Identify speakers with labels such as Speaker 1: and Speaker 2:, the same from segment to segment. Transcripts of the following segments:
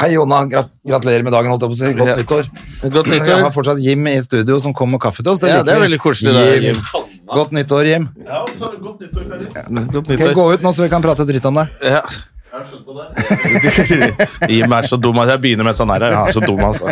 Speaker 1: Hei, Jonna. Grat gratulerer med dagen, holdt jeg på å si. Godt
Speaker 2: Ja.
Speaker 1: nyttår.
Speaker 2: Godt
Speaker 1: Vi har
Speaker 2: nyttår.
Speaker 1: fortsatt Jim i studio som kom med kaffe til oss.
Speaker 2: Ja,
Speaker 1: liker
Speaker 2: det er
Speaker 1: vi.
Speaker 2: veldig koselig. Det,
Speaker 1: Jim.
Speaker 2: Jim.
Speaker 1: Godt nyttår, Jim.
Speaker 2: Godt
Speaker 1: Kan jeg
Speaker 2: nyttår.
Speaker 1: gå ut nå, så vi kan prate dritt om deg?
Speaker 2: Ja. Jim er så dum at jeg begynner mens han er her. Han er så dum, altså.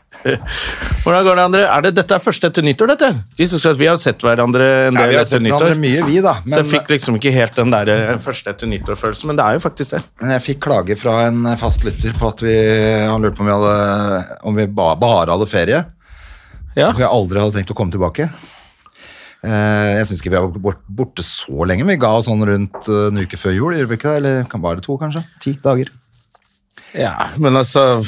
Speaker 2: Hvordan går det, André? Er det, dette er første etter nyttår, dette. Jesus Christ, vi har sett hverandre en
Speaker 1: Ja,
Speaker 2: del
Speaker 1: vi har
Speaker 2: etter
Speaker 1: sett hverandre
Speaker 2: nyttår.
Speaker 1: mye, vi, da.
Speaker 2: så jeg
Speaker 1: Men,
Speaker 2: fikk liksom ikke helt den der eh, første etter nyttår-følelsen, men det er jo faktisk det.
Speaker 1: men jeg fikk klage fra en fast lytter på at vi Han lurte på om vi, hadde, om vi ba, bare hadde ferie.
Speaker 2: Ja.
Speaker 1: Og jeg aldri hadde tenkt å komme tilbake. Eh, Jeg syns ikke vi har vært bort- borte så lenge. Vi ga oss sånn rundt eh, en uke før jul, gjorde vi ikke det? Eller kan- var det to, kanskje? Ti dager.
Speaker 2: ja, men altså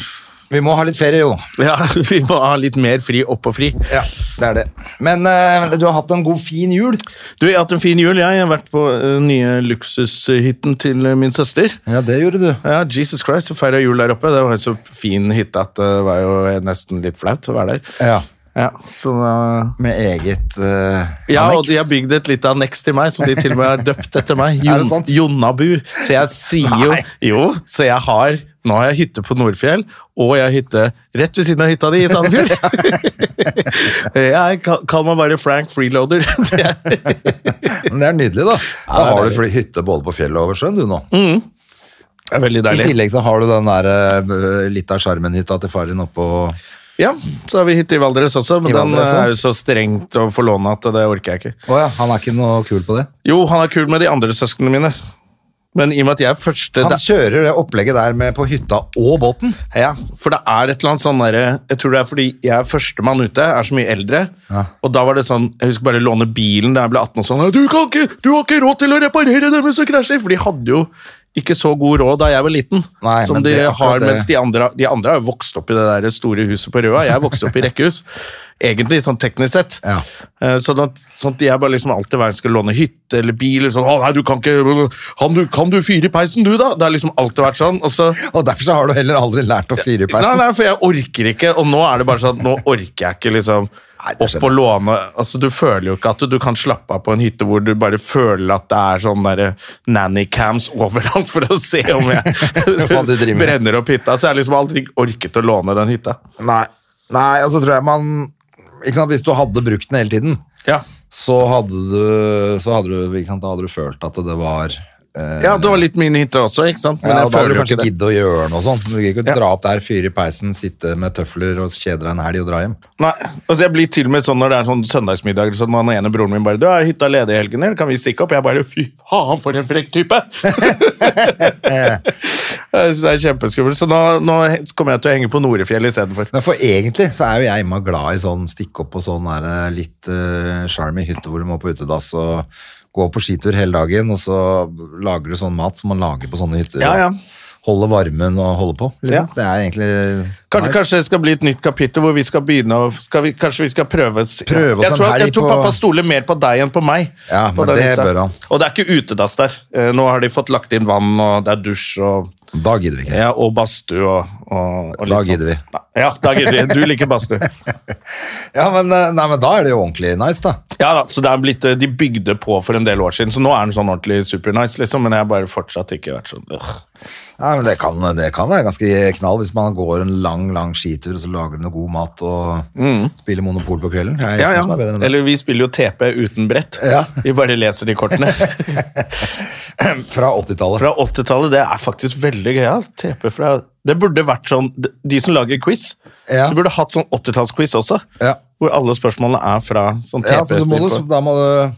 Speaker 1: Vi må ha litt ferie, jo.
Speaker 2: Ja, vi må ha litt mer fri opp og fri.
Speaker 1: Ja, det er det. Men eh, du har hatt en god, fin jul.
Speaker 2: Du, jeg har hatt en fin jul, jeg. Jeg har vært på eh, nye luksushytten til eh, min søster.
Speaker 1: Ja, det gjorde du.
Speaker 2: Ja, Jesus Christ, så feira jul der oppe. Det var en så fin hytte at eh, det var jo nesten litt flaut å være der.
Speaker 1: Ja,
Speaker 2: Ja, så, eh,
Speaker 1: Med eget eh,
Speaker 2: ja og
Speaker 1: anneks.
Speaker 2: de har bygd et lite anneks til meg, som de til og med har døpt etter meg.
Speaker 1: Er
Speaker 2: Jon,
Speaker 1: det sant?
Speaker 2: Jonnabu. Så jeg sier jo Jo, så jeg har Nå har jeg hytte på Nordfjell, og jeg har hytte rett ved siden av hytta di i Sandefjord. jeg kall kall meg bare Frank Freeloader. Det er-
Speaker 1: Men det er nydelig,
Speaker 2: det
Speaker 1: da. Da
Speaker 2: er
Speaker 1: har du
Speaker 2: deilig.
Speaker 1: fly- hytte både på fjellet og over sjøen, du nå.
Speaker 2: Det er veldig
Speaker 1: I
Speaker 2: deilig.
Speaker 1: tillegg så har du den der eh, litt av sjarmen-hytta til far din oppå
Speaker 2: Ja, så har vi hytte i Valdres også, men
Speaker 1: I
Speaker 2: den eh,
Speaker 1: Valdres, ja.
Speaker 2: er jo så strengt å forlåne at det orker jeg ikke.
Speaker 1: Å ja, han er ikke noe kul på det?
Speaker 2: Jo, han er kul med de andre søsknene mine. Men i og med at jeg er første
Speaker 1: Han
Speaker 2: det,
Speaker 1: kjører det opplegget der med på hytta og båten.
Speaker 2: ja, For det er et eller annet sånn derre Jeg tror det er fordi jeg er førstemann ute, er så mye eldre.
Speaker 1: Ja.
Speaker 2: Og da var det sånn Jeg husker bare låne bilen da jeg ble 18 og sånn. Du, kan ikke, 'Du har ikke råd til å reparere det hvis du krasjer!' For de hadde jo ikke så god råd da jeg var liten.
Speaker 1: Nei,
Speaker 2: som
Speaker 1: men
Speaker 2: de
Speaker 1: det er akkurat
Speaker 2: har,
Speaker 1: det.
Speaker 2: mens de andre, de andre har jo vokst opp i det der store huset på Røa. Jeg vokste opp i rekkehus. Egentlig, sånn teknisk sett.
Speaker 1: Ja.
Speaker 2: Eh, Sånn at, sånn at jeg bare liksom alltid hver gang skal låne hytte eller bil eller sånn, å nei, du kan ikke, han, du, kan du fyre i peisen du da? Det har liksom alltid vært sånn, og så,
Speaker 1: Og derfor så har du heller aldri lært å fyre i
Speaker 2: nei,
Speaker 1: peisen.
Speaker 2: nei, for jeg orker ikke, og nå er det bare sånn, at nå orker jeg ikke liksom
Speaker 1: Nei, det skjønner
Speaker 2: opp og låne, altså du føler jo ikke at du, du kan slappe av på en hytte hvor du bare føler at det er sånn der nannycams overalt for å se om
Speaker 1: Hva du driver
Speaker 2: jeg
Speaker 1: med.
Speaker 2: brenner opp hytta, så jeg har liksom aldri orket å låne den hytta.
Speaker 1: Nei, nei altså tror jeg man ikke sant, Hvis du hadde brukt den hele tiden,
Speaker 2: Ja,
Speaker 1: så hadde du, så hadde du, ikke sant, da hadde du følt at det var eh,
Speaker 2: ja det var litt min hytte også, ikke sant? Men
Speaker 1: ja,
Speaker 2: jeg
Speaker 1: og da hadde
Speaker 2: føler
Speaker 1: du
Speaker 2: jo
Speaker 1: kanskje
Speaker 2: ikke det.
Speaker 1: giddet å gjøre noe sånt. Du gidder ikke
Speaker 2: Ja.
Speaker 1: å dra opp der, fyre i peisen, sitte med tøfler og kjede deg en helg og dra hjem.
Speaker 2: Nei, altså jeg blir til og med sånn når det er sånn søndagsmiddag så den ene broren min bare 'Du, er hytta ledig i helgen, eller kan vi stikke opp?' Jeg bare 'Fy faen, for en frekk type'! Jeg synes det er kjempeskummelt. Så nå, nå kommer jeg til å henge på Norefjell istedenfor.
Speaker 1: Men for egentlig så er jo jeg imma glad i sånn stikke opp og sånn der, eh, litt eh, sjarm i hytte hvor du må på utedass og gå på skitur hele dagen, og så lager du sånn mat som man lager på sånne hytter.
Speaker 2: Ja, ja.
Speaker 1: og Holde varmen og holde på. Liksom.
Speaker 2: Ja.
Speaker 1: Det er egentlig
Speaker 2: Kanskje,
Speaker 1: nice.
Speaker 2: kanskje det skal bli et nytt kapittel hvor vi skal begynne å skal vi, Kanskje vi skal prøve oss
Speaker 1: Prøve oss
Speaker 2: Jeg
Speaker 1: en
Speaker 2: tror, jeg
Speaker 1: helg
Speaker 2: tror
Speaker 1: på-
Speaker 2: pappa stoler mer på deg enn på meg.
Speaker 1: Ja,
Speaker 2: på
Speaker 1: men
Speaker 2: den
Speaker 1: det
Speaker 2: hytta.
Speaker 1: bør han.
Speaker 2: Og det er ikke utedass der. Eh, Nå har de fått lagt inn vann, og det er dusj og
Speaker 1: Da gidder vi ikke.
Speaker 2: Ja, og badstue og, og, og litt
Speaker 1: Da gidder
Speaker 2: sånn. vi. Ja, da gidder vi. Du liker badstue.
Speaker 1: Ja, men, eh, nei, men da er det jo ordentlig nice, da.
Speaker 2: Ja da, så det er blitt, eh, De bygde på for en del år siden, så nå er den sånn ordentlig supernice, liksom, men jeg har bare fortsatt ikke vært sånn øh.
Speaker 1: Ja, men det kan, det kan være ganske knall hvis man går en lang lang skitur og så lager du noe god mat og spiller Monopol på kvelden. Det er ingenting som Sånn er bedre enn det.
Speaker 2: Mm. Eller vi spiller jo TP uten brett.
Speaker 1: Ja.
Speaker 2: Vi bare leser de kortene.
Speaker 1: Fra 80-tallet.
Speaker 2: Fra 80-tallet, det er faktisk veldig gøy. ass. TP fra Det burde vært sånn de- De som lager quiz,
Speaker 1: Ja.
Speaker 2: de burde hatt sånn 80-tallsquiz også.
Speaker 1: Ja.
Speaker 2: Hvor alle spørsmålene er fra sånn
Speaker 1: Ja, så du må,
Speaker 2: TP-spill.
Speaker 1: du, da må du,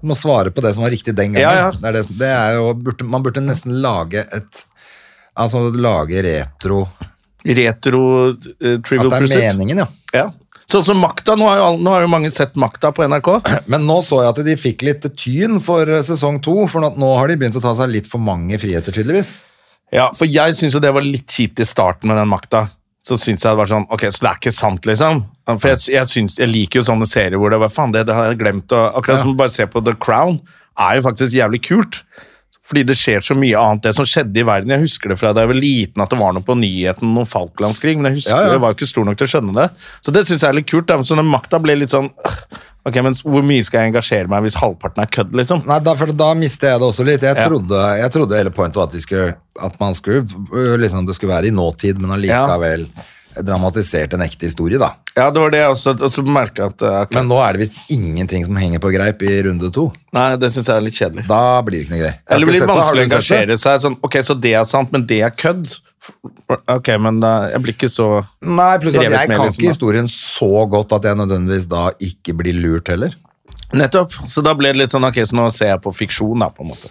Speaker 1: du må svare på det som var riktig den gangen.
Speaker 2: Ja, ja.
Speaker 1: Det er det, som- det er jo, burde, man burde nesten lage et Altså lage retro
Speaker 2: Retro eh,
Speaker 1: At
Speaker 2: Trivial
Speaker 1: det er
Speaker 2: Pursuit.
Speaker 1: meningen, ja.
Speaker 2: Ja. Sånn som Makta, nå har, jo, all- nå har jo mange sett Makta på NRK.
Speaker 1: Men nå så jeg at de fikk litt tyn for sesong to, for nå- nå har de begynt å ta seg litt for mange friheter, tydeligvis.
Speaker 2: Ja, for jeg syns jo det var litt kjipt i starten med den makta. Så synes jeg det var sånn, ok, så det er ikke sant, liksom. For jeg, jeg, synes, jeg liker jo sånne serier hvor det var faen, det, det har jeg glemt. Og, akkurat som bare se på The Crown, er jo faktisk jævlig kult. Fordi det skjer så mye annet, det som skjedde i verden. Jeg husker det fra da jeg var liten, at det var noe på nyheten om Falklandskrig, men jeg husker
Speaker 1: Ja, ja.
Speaker 2: jeg var jo ikke stor nok til å skjønne det. Så det synes jeg er litt kult. Da. Så den makta ble litt sånn, øh, ok, men hvor mye skal jeg engasjere meg hvis halvparten er kødd, liksom?
Speaker 1: Nei, da, for da mistet jeg det også litt. Jeg,
Speaker 2: Ja.
Speaker 1: trodde, jeg trodde hele pointet var at, de skulle, at man skulle, øh, liksom, det skulle være i nåtid, men allikevel dramatisert en ekte historie, da.
Speaker 2: Ja, det var det jeg også, også merket at, øh, ok,
Speaker 1: Men nå er det visst ingenting som henger på greip i runde to.
Speaker 2: nei, det synes jeg er litt kjedelig.
Speaker 1: Da blir det ikke noe gøy. Jeg har
Speaker 2: Eller det
Speaker 1: ikke
Speaker 2: blir
Speaker 1: sett det. Har
Speaker 2: vanskelig å
Speaker 1: du sett det?
Speaker 2: engasjere seg. Sånn, ok, så det er sant, men det er kødd? Ok, men eh, jeg blir ikke så
Speaker 1: Nei, pluss at
Speaker 2: Revet
Speaker 1: jeg
Speaker 2: med,
Speaker 1: kan
Speaker 2: liksom,
Speaker 1: ikke
Speaker 2: da.
Speaker 1: historien så godt at jeg nødvendigvis da ikke blir lurt heller.
Speaker 2: Nettopp. Så da ble det litt sånn ok, så nå ser jeg på fiksjon, da, på en måte.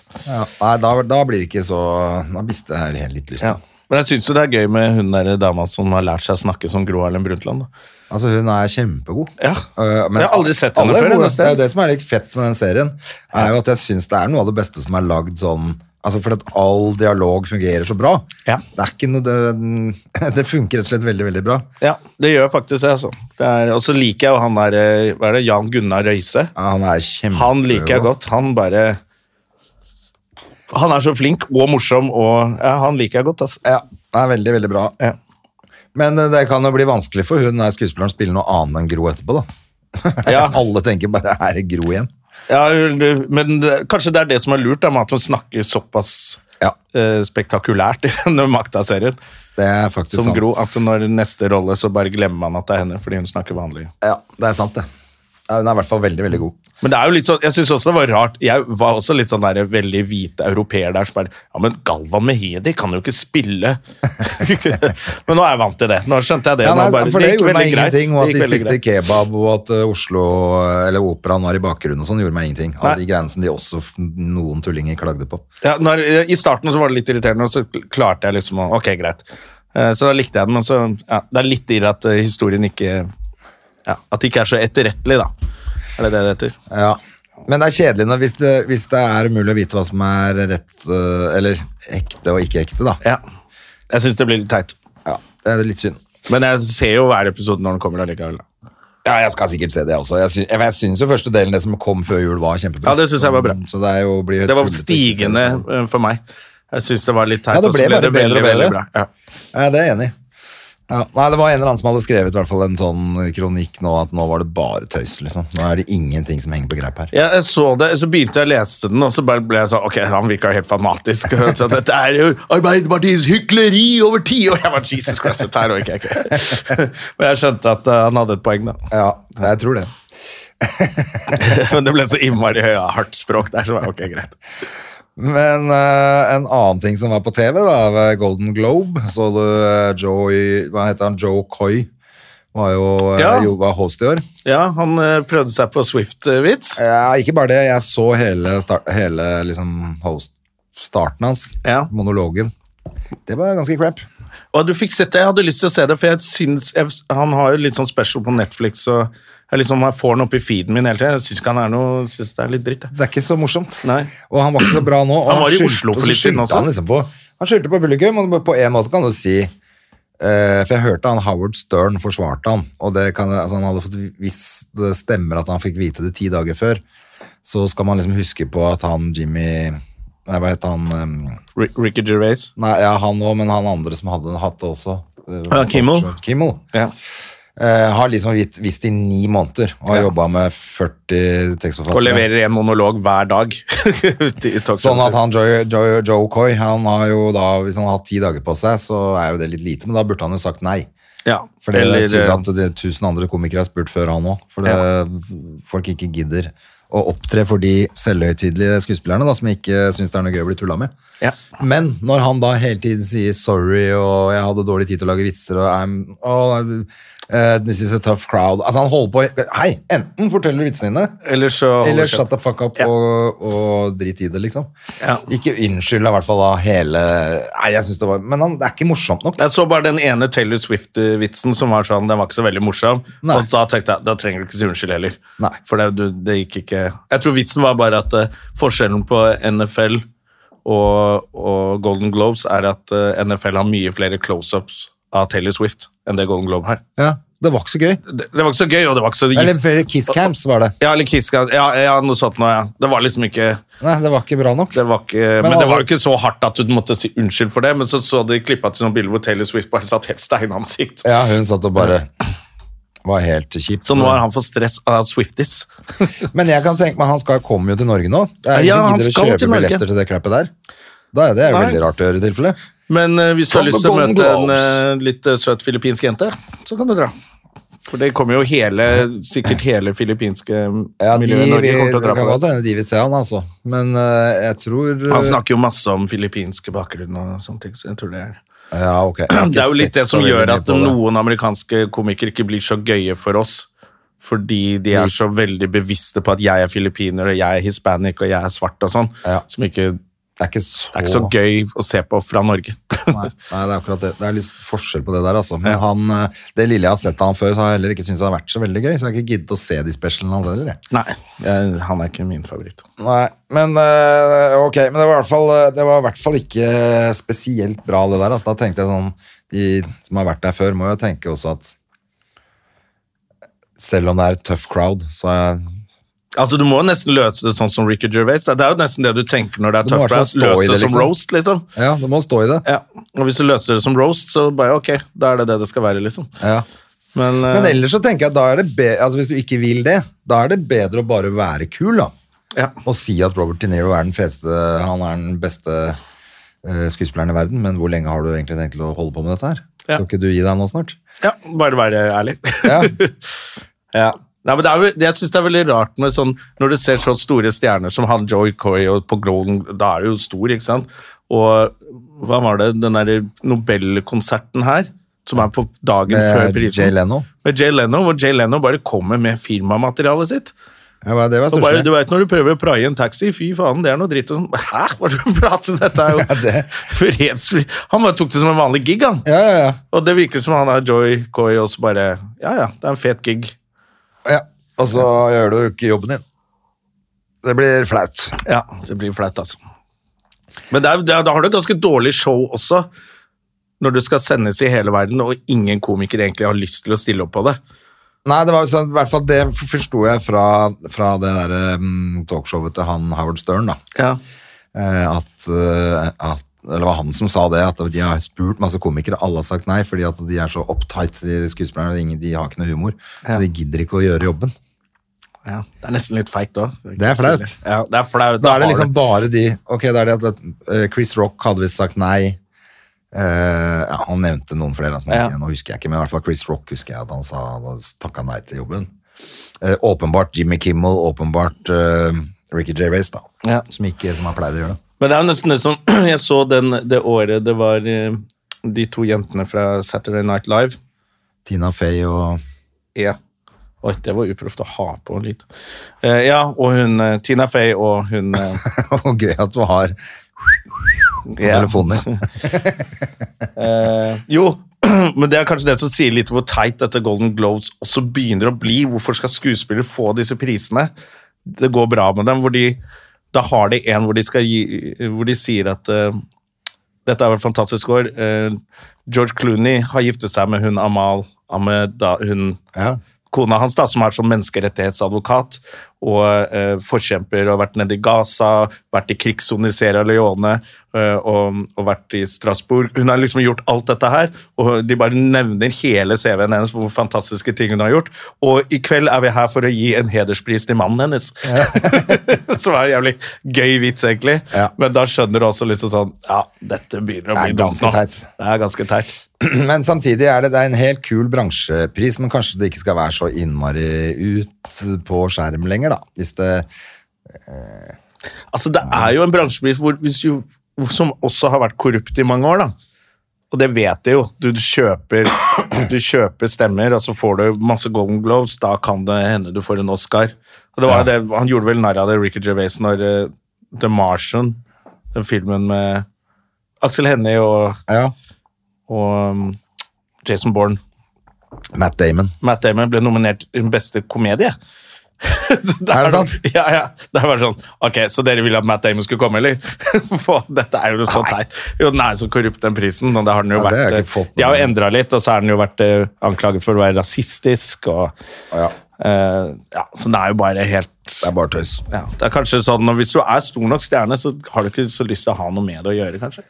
Speaker 1: Nei, da, da blir det ikke så Da mister jeg helt litt lyst.
Speaker 2: Ja. Men jeg syns jo det er gøy med hun der dama som har lært seg å snakke som Gro Harlem Brundtland. da.
Speaker 1: Altså, hun er kjempegod.
Speaker 2: Ja.
Speaker 1: Øh, men
Speaker 2: Jeg har aldri sett henne
Speaker 1: alle er
Speaker 2: før,
Speaker 1: gode.
Speaker 2: henne selv.
Speaker 1: Det er jo det som er litt fett med den serien, er jo at jeg syns det er noe av det beste som er lagd sånn Altså fordi at all dialog fungerer så bra.
Speaker 2: Ja.
Speaker 1: Det er ikke noe Det, det funker rett og slett veldig, veldig bra.
Speaker 2: Ja, det gjør faktisk det, altså. Det er- Og så liker jeg jo han der eh, Hva er det? Jan Gunnar Røise.
Speaker 1: Ja, Han er kjempegod.
Speaker 2: Han liker jeg godt. Han bare Han er så flink og morsom og ja, Han liker jeg godt, altså.
Speaker 1: Ja, han er veldig, veldig bra.
Speaker 2: Ja.
Speaker 1: Men eh, det kan jo bli vanskelig for hun der skuespilleren spiller noe annet enn Gro etterpå, da.
Speaker 2: Ja.
Speaker 1: Alle tenker bare er det Gro igjen?
Speaker 2: Ja, hun- men det, kanskje det er det som er lurt, da, med at hun snakker såpass
Speaker 1: Ja.
Speaker 2: eh, spektakulært i denne Makta-serien.
Speaker 1: Det er faktisk
Speaker 2: Som
Speaker 1: sant.
Speaker 2: Gro, altså, at når neste rolle så bare glemmer man at det er henne, fordi hun snakker vanlig.
Speaker 1: Ja, det er sant, det. Ja, hun er i hvert fall veldig, veldig god.
Speaker 2: Men det er jo litt sånn, jeg synes også det var rart, jeg var også litt sånn der veldig hvite europeer der, som bare, ja, men Galvan Mehedi kan jo ikke spille. men nå er jeg vant til det. Nå skjønte jeg det.
Speaker 1: Ja,
Speaker 2: Nå
Speaker 1: nei,
Speaker 2: bare,
Speaker 1: for det,
Speaker 2: gikk
Speaker 1: gjorde meg
Speaker 2: veldig greit.
Speaker 1: ingenting,
Speaker 2: Det
Speaker 1: og at de
Speaker 2: gikk veldig
Speaker 1: spiste
Speaker 2: greit.
Speaker 1: kebab, og at eh, Oslo, eh, eller operaen var i bakgrunnen og sånn, gjorde meg ingenting. Av
Speaker 2: Nei.
Speaker 1: de greiene som de også f- noen tullinger klagde på.
Speaker 2: Ja, når, I starten så var det litt irriterende, og så klarte jeg liksom å Ok, greit. Eh, Så da likte jeg den, men så ja, Det er litt irr at eh, historien ikke ja, At det ikke er så etterrettelig, da. Er det det det heter?
Speaker 1: Ja. Men det er kjedelig når, hvis, det, hvis det er umulig å vite hva som er rett, eh, eller ekte og ikke ekte, da.
Speaker 2: Ja. Jeg syns det blir litt teit.
Speaker 1: Ja, det er litt synd.
Speaker 2: Men jeg ser jo hver episode når den kommer allikevel.
Speaker 1: Ja, jeg skal sikkert se det også. Jeg syns, jeg syns jo første delen, det som kom før jul, var kjempebra.
Speaker 2: Ja, det syns jeg var bra.
Speaker 1: Så det er jo blir jo
Speaker 2: Det var
Speaker 1: tullete å ikke se
Speaker 2: stigende
Speaker 1: det.
Speaker 2: eh, for meg. Jeg syns det var litt teit.
Speaker 1: Ja, det
Speaker 2: og så
Speaker 1: ble bare bedre og bedre.
Speaker 2: veldig bra. Ja.
Speaker 1: Ja, det er jeg enig. i. Ja, nei, det var en eller annen som hadde skrevet i hvert fall en sånn kronikk nå, at nå var det bare tøys, liksom. Nå er det ingenting som henger på greip her.
Speaker 2: Ja, jeg så det, så begynte jeg å lese den, og så bare ble jeg sånn Ok, han virka helt fanatisk. Så dette er jo Arbeiderpartiets hykleri over tid! Og jeg var Jesus Christ, dette her orker jeg ikke. Men jeg skjønte at eh, han hadde et poeng, da.
Speaker 1: Ja, jeg tror det.
Speaker 2: Men det ble så innmari høy, hardt språk der, så var jeg ok, greit.
Speaker 1: Men eh, en annen ting som var på TV, da, var Golden Globe. Så du eh, Joey Hva heter han? Joe Coy. Var jo, eh,
Speaker 2: Ja.
Speaker 1: jo var host i år.
Speaker 2: Ja, han eh, prøvde seg på Swift-vits.
Speaker 1: Ja, ikke bare det. Jeg så hele, start, hele liksom, host, starten hans,
Speaker 2: Ja.
Speaker 1: monologen. Det var ganske crap.
Speaker 2: Og du fikk sett det, Jeg hadde lyst til å se det, for jeg syns jeg, han har jo litt sånn special på Netflix. og jeg liksom jeg får den opp i feeden min hele tiden. Jeg syns ikke han er noe, jeg synes det er litt dritt. Jeg.
Speaker 1: Det er ikke så morsomt.
Speaker 2: Nei.
Speaker 1: Og han var ikke så bra nå. Og
Speaker 2: Han var i
Speaker 1: skyldte-
Speaker 2: Oslo for
Speaker 1: og så
Speaker 2: litt siden altså.
Speaker 1: skyldte
Speaker 2: også.
Speaker 1: Han, liksom på, han skyldte på publikum, og på en måte kan du si eh, For jeg hørte han Howard Stern forsvarte han, og det kan, altså han hadde fått, hvis det stemmer at han fikk vite det ti dager før, så skal man liksom huske på at han Jimmy Nei, hva het han eh,
Speaker 2: Ri- Ricky Gervais.
Speaker 1: Nei, ja, han òg, men han andre som hadde hatt det også. eh,
Speaker 2: Ja, Kimmel.
Speaker 1: Kimmel.
Speaker 2: Ja.
Speaker 1: Eh, har liksom vit- visst i ni måneder og har
Speaker 2: Ja.
Speaker 1: jobba med 40 tekstforfattere.
Speaker 2: Og leverer en monolog hver dag. Ut i talkshowen
Speaker 1: Sånn at
Speaker 2: sin.
Speaker 1: han Joe, Joe, Joe Coy, han har jo da, hvis han har hatt ti dager på seg, så er jo det litt lite, men da burde han jo sagt nei.
Speaker 2: ja.
Speaker 1: For det
Speaker 2: Eller,
Speaker 1: er tydelig
Speaker 2: eh,
Speaker 1: at det, tusen andre komikere har spurt før han òg, for det, folk ikke gidder å opptre for de selvhøytidelige skuespillerne da, som ikke syns det er noe gøy å bli tulla med.
Speaker 2: Ja.
Speaker 1: Men når han da hele tiden sier 'sorry', og 'jeg hadde dårlig tid til å lage vitser', og I'm, oh, eh, 'this is a tough crowd' Altså, han holder på i- Hei! Enten forteller du vitsene dine,
Speaker 2: eh, Eller så
Speaker 1: eller
Speaker 2: holder
Speaker 1: shut
Speaker 2: kjeft.
Speaker 1: the fuck up
Speaker 2: Ja.
Speaker 1: og, og drit i det, liksom.
Speaker 2: Ja.
Speaker 1: Ikke unnskyld da, i hvert fall da hele Nei, jeg synes det var Men han, det er ikke morsomt nok.
Speaker 2: Jeg så bare den ene Taylor Swift-vitsen som var sånn, den var ikke så veldig morsom.
Speaker 1: Nei.
Speaker 2: Og da tenkte jeg da trenger du ikke si unnskyld heller.
Speaker 1: Nei.
Speaker 2: For det, du, det gikk ikke Jeg tror vitsen var bare at eh, forskjellen på NFL og, og Golden Globes, er at eh, NFL har mye flere close-ups av Taylor Swift enn det Golden Globe har.
Speaker 1: Ja, det var ikke så gøy.
Speaker 2: Det, det var ikke så gøy, og det var ikke så
Speaker 1: Eller
Speaker 2: gift.
Speaker 1: flere kiss camps var det.
Speaker 2: Ja, eller Kiss Gun. Ja, ja, noe sånt noe, ja. Det var liksom ikke
Speaker 1: Nei, det var ikke bra nok.
Speaker 2: det var, ikke, men,
Speaker 1: alle-
Speaker 2: det var jo ikke så hardt at du måtte si unnskyld for det, men så så de klippa til noen bilder hvor Taylor Swift bare satt helt steinansikt.
Speaker 1: Ja, hun satt og bare var helt kjipt.
Speaker 2: Så nå har han fått stress av Swifties.
Speaker 1: Men jeg kan tenke meg, han skal, kommer jo til Norge nå. Det er
Speaker 2: Ja,
Speaker 1: ingen
Speaker 2: han
Speaker 1: som gidder
Speaker 2: skal
Speaker 1: å
Speaker 2: til
Speaker 1: kjøpe
Speaker 2: Norge.
Speaker 1: billetter til det klappet der. Da er det jo
Speaker 2: Nei.
Speaker 1: veldig rart å gjøre i tilfelle.
Speaker 2: Men eh, hvis du har
Speaker 1: Som
Speaker 2: lyst til å
Speaker 1: Golden
Speaker 2: møte en eh,
Speaker 1: Globes.
Speaker 2: litt eh, søt filippinsk jente, så kan du dra. For det kommer jo hele, sikkert hele filippinske
Speaker 1: Ja, de,
Speaker 2: miljøet i Norge
Speaker 1: vil,
Speaker 2: kommer til å
Speaker 1: det
Speaker 2: dra
Speaker 1: kan
Speaker 2: på.
Speaker 1: godt
Speaker 2: det.
Speaker 1: hende de vil se han, altså. Men eh, jeg tror
Speaker 2: Han snakker jo masse om filippinske bakgrunn og sånne ting, så jeg tror det er
Speaker 1: ja, ok. Jeg har ikke
Speaker 2: Det er jo
Speaker 1: sett
Speaker 2: litt det
Speaker 1: så
Speaker 2: som
Speaker 1: veldig
Speaker 2: gjør
Speaker 1: mye
Speaker 2: at
Speaker 1: på det.
Speaker 2: noen amerikanske komikere ikke blir så gøye for oss. Fordi de
Speaker 1: Mm.
Speaker 2: er så veldig bevisste på at jeg er filippiner, og jeg er hispanic, og jeg er svart og sånn.
Speaker 1: Ja.
Speaker 2: Som ikke det
Speaker 1: Det er ikke så,
Speaker 2: er ikke så gøy å se på fra Norge.
Speaker 1: Nei, nei, det er akkurat det. Det er litt forskjell på det der, altså. Men han, eh, det lille jeg har sett av han før, så har jeg heller ikke syntes det har vært så veldig gøy. Så jeg har ikke giddet å se de specialene hans heller. jeg.
Speaker 2: Nei, jeg, han er ikke min favoritt.
Speaker 1: Nei, men eh, ok, men det var, i hvert fall, eh, det var i hvert fall ikke eh, spesielt bra det der. Altså, da tenkte jeg sånn, de som har vært der før må jo tenke også at selv om det er et tøff crowd, så er
Speaker 2: Altså, Du må nesten løse det sånn som Ricky Gervais. Det er jo nesten det du tenker når det er
Speaker 1: Du må i
Speaker 2: tough
Speaker 1: hvert fall
Speaker 2: crowd.
Speaker 1: stå i
Speaker 2: Løse det,
Speaker 1: det,
Speaker 2: som
Speaker 1: liksom.
Speaker 2: roast, liksom.
Speaker 1: ja, du må stå i det.
Speaker 2: Ja. Og hvis du løser det som roast, så bare ok, da er det det det skal være, liksom.
Speaker 1: Ja.
Speaker 2: Men, eh,
Speaker 1: Men ellers så tenker jeg at da er det be altså, hvis du ikke vil det, da er det bedre å bare være kul da.
Speaker 2: eh, ja.
Speaker 1: Å si at Robert De Niro er den feteste, han er den beste eh, skuespilleren i verden, men hvor lenge har du egentlig tenkt til å holde på med dette her?
Speaker 2: Ja.
Speaker 1: Skal ikke du gi deg nå snart?
Speaker 2: ja, bare være ærlig.
Speaker 1: Ja,
Speaker 2: Ja. Nei, men det er, vel- jeg synes det er veldig rart med sånn, når du ser så store stjerner som han Joy Coy og på Golden, da er du jo stor, ikke sant? Og hva var det, den der Nobel-konserten her, som er på dagen før
Speaker 1: med
Speaker 2: prisen?
Speaker 1: Eh, Jay Leno.
Speaker 2: Med Jay Leno, hvor Jay Leno bare kommer med firmamaterialet sitt.
Speaker 1: Ja, men det var
Speaker 2: Og bare, du
Speaker 1: største.
Speaker 2: vet når du prøver å praie en taxi, fy faen, det er noe dritt. Og sånn, hæ, hva er det du prater om? Dette er jo
Speaker 1: Ja, det-
Speaker 2: fredsfri. Han bare tok det som en vanlig gig, han.
Speaker 1: Ja, ja, ja.
Speaker 2: Og det virker som han er Joy Coy også bare, ja, ja, det er en fet gig.
Speaker 1: Ja, og så gjør du ikke jobben din. Det blir flaut.
Speaker 2: Ja, det blir flaut, altså. Men det er, det er, da har du et ganske dårlig show også, når du skal sendes i hele verden, og ingen komiker egentlig har lyst til å stille opp på det.
Speaker 1: Nei, det var jo sånn, i hvert fall det forsto jeg fra, fra det der mm, talkshowet til han Howard Stern, da.
Speaker 2: Ja.
Speaker 1: Eh, at, eh, at eller det var han som sa det, at de har spurt masse komikere, alle har sagt nei, fordi at de er så uptight, de skuespillerne, og ingen- de har ikke noe humor. Så de gidder ikke å gjøre jobben.
Speaker 2: ja. Det er nesten litt feigt òg.
Speaker 1: Det er flaut.
Speaker 2: Ja, det er flaut.
Speaker 1: Da er det
Speaker 2: har
Speaker 1: liksom
Speaker 2: du-
Speaker 1: bare de Ok, da er det at eh, Chris Rock hadde visst sagt nei. Eh, ja, han nevnte noen flere. da, Som han
Speaker 2: Ja.
Speaker 1: ikke, nå husker jeg ikke, men i hvert fall Chris Rock husker jeg at han sa han takka nei til jobben. Eh, åpenbart Jimmy Kimmel, åpenbart eh, Ricky J. Race, da.
Speaker 2: Ja.
Speaker 1: Som ikke som han pleide å gjøre.
Speaker 2: Men det er jo nesten det som Jeg så den, det året det var eh, de to jentene fra Saturday Night Live.
Speaker 1: Tina Fey og
Speaker 2: Ja. Oi, det var uproft å ha på lyd. Eh, ja, og hun eh, Tina Fey og hun eh,
Speaker 1: Og gøy at du har
Speaker 2: ja.
Speaker 1: telefoner.
Speaker 2: Eh, jo, men det er kanskje det som sier litt hvor teit dette Golden Globes også begynner å bli. Hvorfor skal skuespillere få disse prisene? Det går bra med dem. Hvor de, da har de en hvor de, skal gi, hvor de sier at eh, dette er vel fantastisk år. eh, George Clooney har giftet seg med hun Amal Ahmed, da, hun
Speaker 1: Ja.
Speaker 2: kona hans, da, som er som menneskerettighetsadvokat og eh, forkjemper og har vært nede i Gaza, vært i krigssoner i Sierra Leone eh, og, og vært i Strasbourg. Hun har liksom gjort alt dette her, og de bare nevner hele CV-en hennes hvor fantastiske ting hun har gjort. Og i kveld er vi her for å gi en hederspris til mannen hennes. som er en jævlig gøy vits, egentlig.
Speaker 1: Ja.
Speaker 2: Men da skjønner du også liksom sånn Ja, dette begynner å
Speaker 1: Det er
Speaker 2: bli dumt
Speaker 1: ganske
Speaker 2: nå.
Speaker 1: teit.
Speaker 2: Det er ganske teit.
Speaker 1: Men samtidig er det, det er en helt kul bransjepris, men kanskje det ikke skal være så innmari ut på skjerm lenger, da. Hvis det
Speaker 2: Altså, det er jo en bransjepris hvor, hvis du, som også har vært korrupt i mange år, da. Og det vet jeg jo. Du kjøper, du kjøper stemmer, og så får du masse Golden Globes. Da kan det hende du får en Oscar. Og det var jo det, han gjorde vel narr av det, Ricky Gervais, når eh, The Martian, den filmen med Aksel Hennie og,
Speaker 1: Ja.
Speaker 2: og um, Jason Bourne,
Speaker 1: Matt Damon.
Speaker 2: Matt Damon, ble nominert i den beste komedie. Det
Speaker 1: Er det sant?
Speaker 2: Ja, ja. Det er bare sånn Ok, så dere ville at Matt Damon skulle komme, eller? For dette er jo så teit. Jo, den er så korrupt, den prisen. Og det har den jo
Speaker 1: Ja, det har
Speaker 2: vært
Speaker 1: jeg ikke fått med
Speaker 2: De har jo
Speaker 1: meg.
Speaker 2: endra litt, og så har den jo vært eh, anklaget for å være rasistisk og
Speaker 1: Ja,
Speaker 2: eh, Ja, så den er jo bare helt
Speaker 1: det er bare tøys.
Speaker 2: ja, det er kanskje sånn, og Hvis du er stor nok stjerne, så har du ikke så lyst til å ha noe med det å gjøre. kanskje.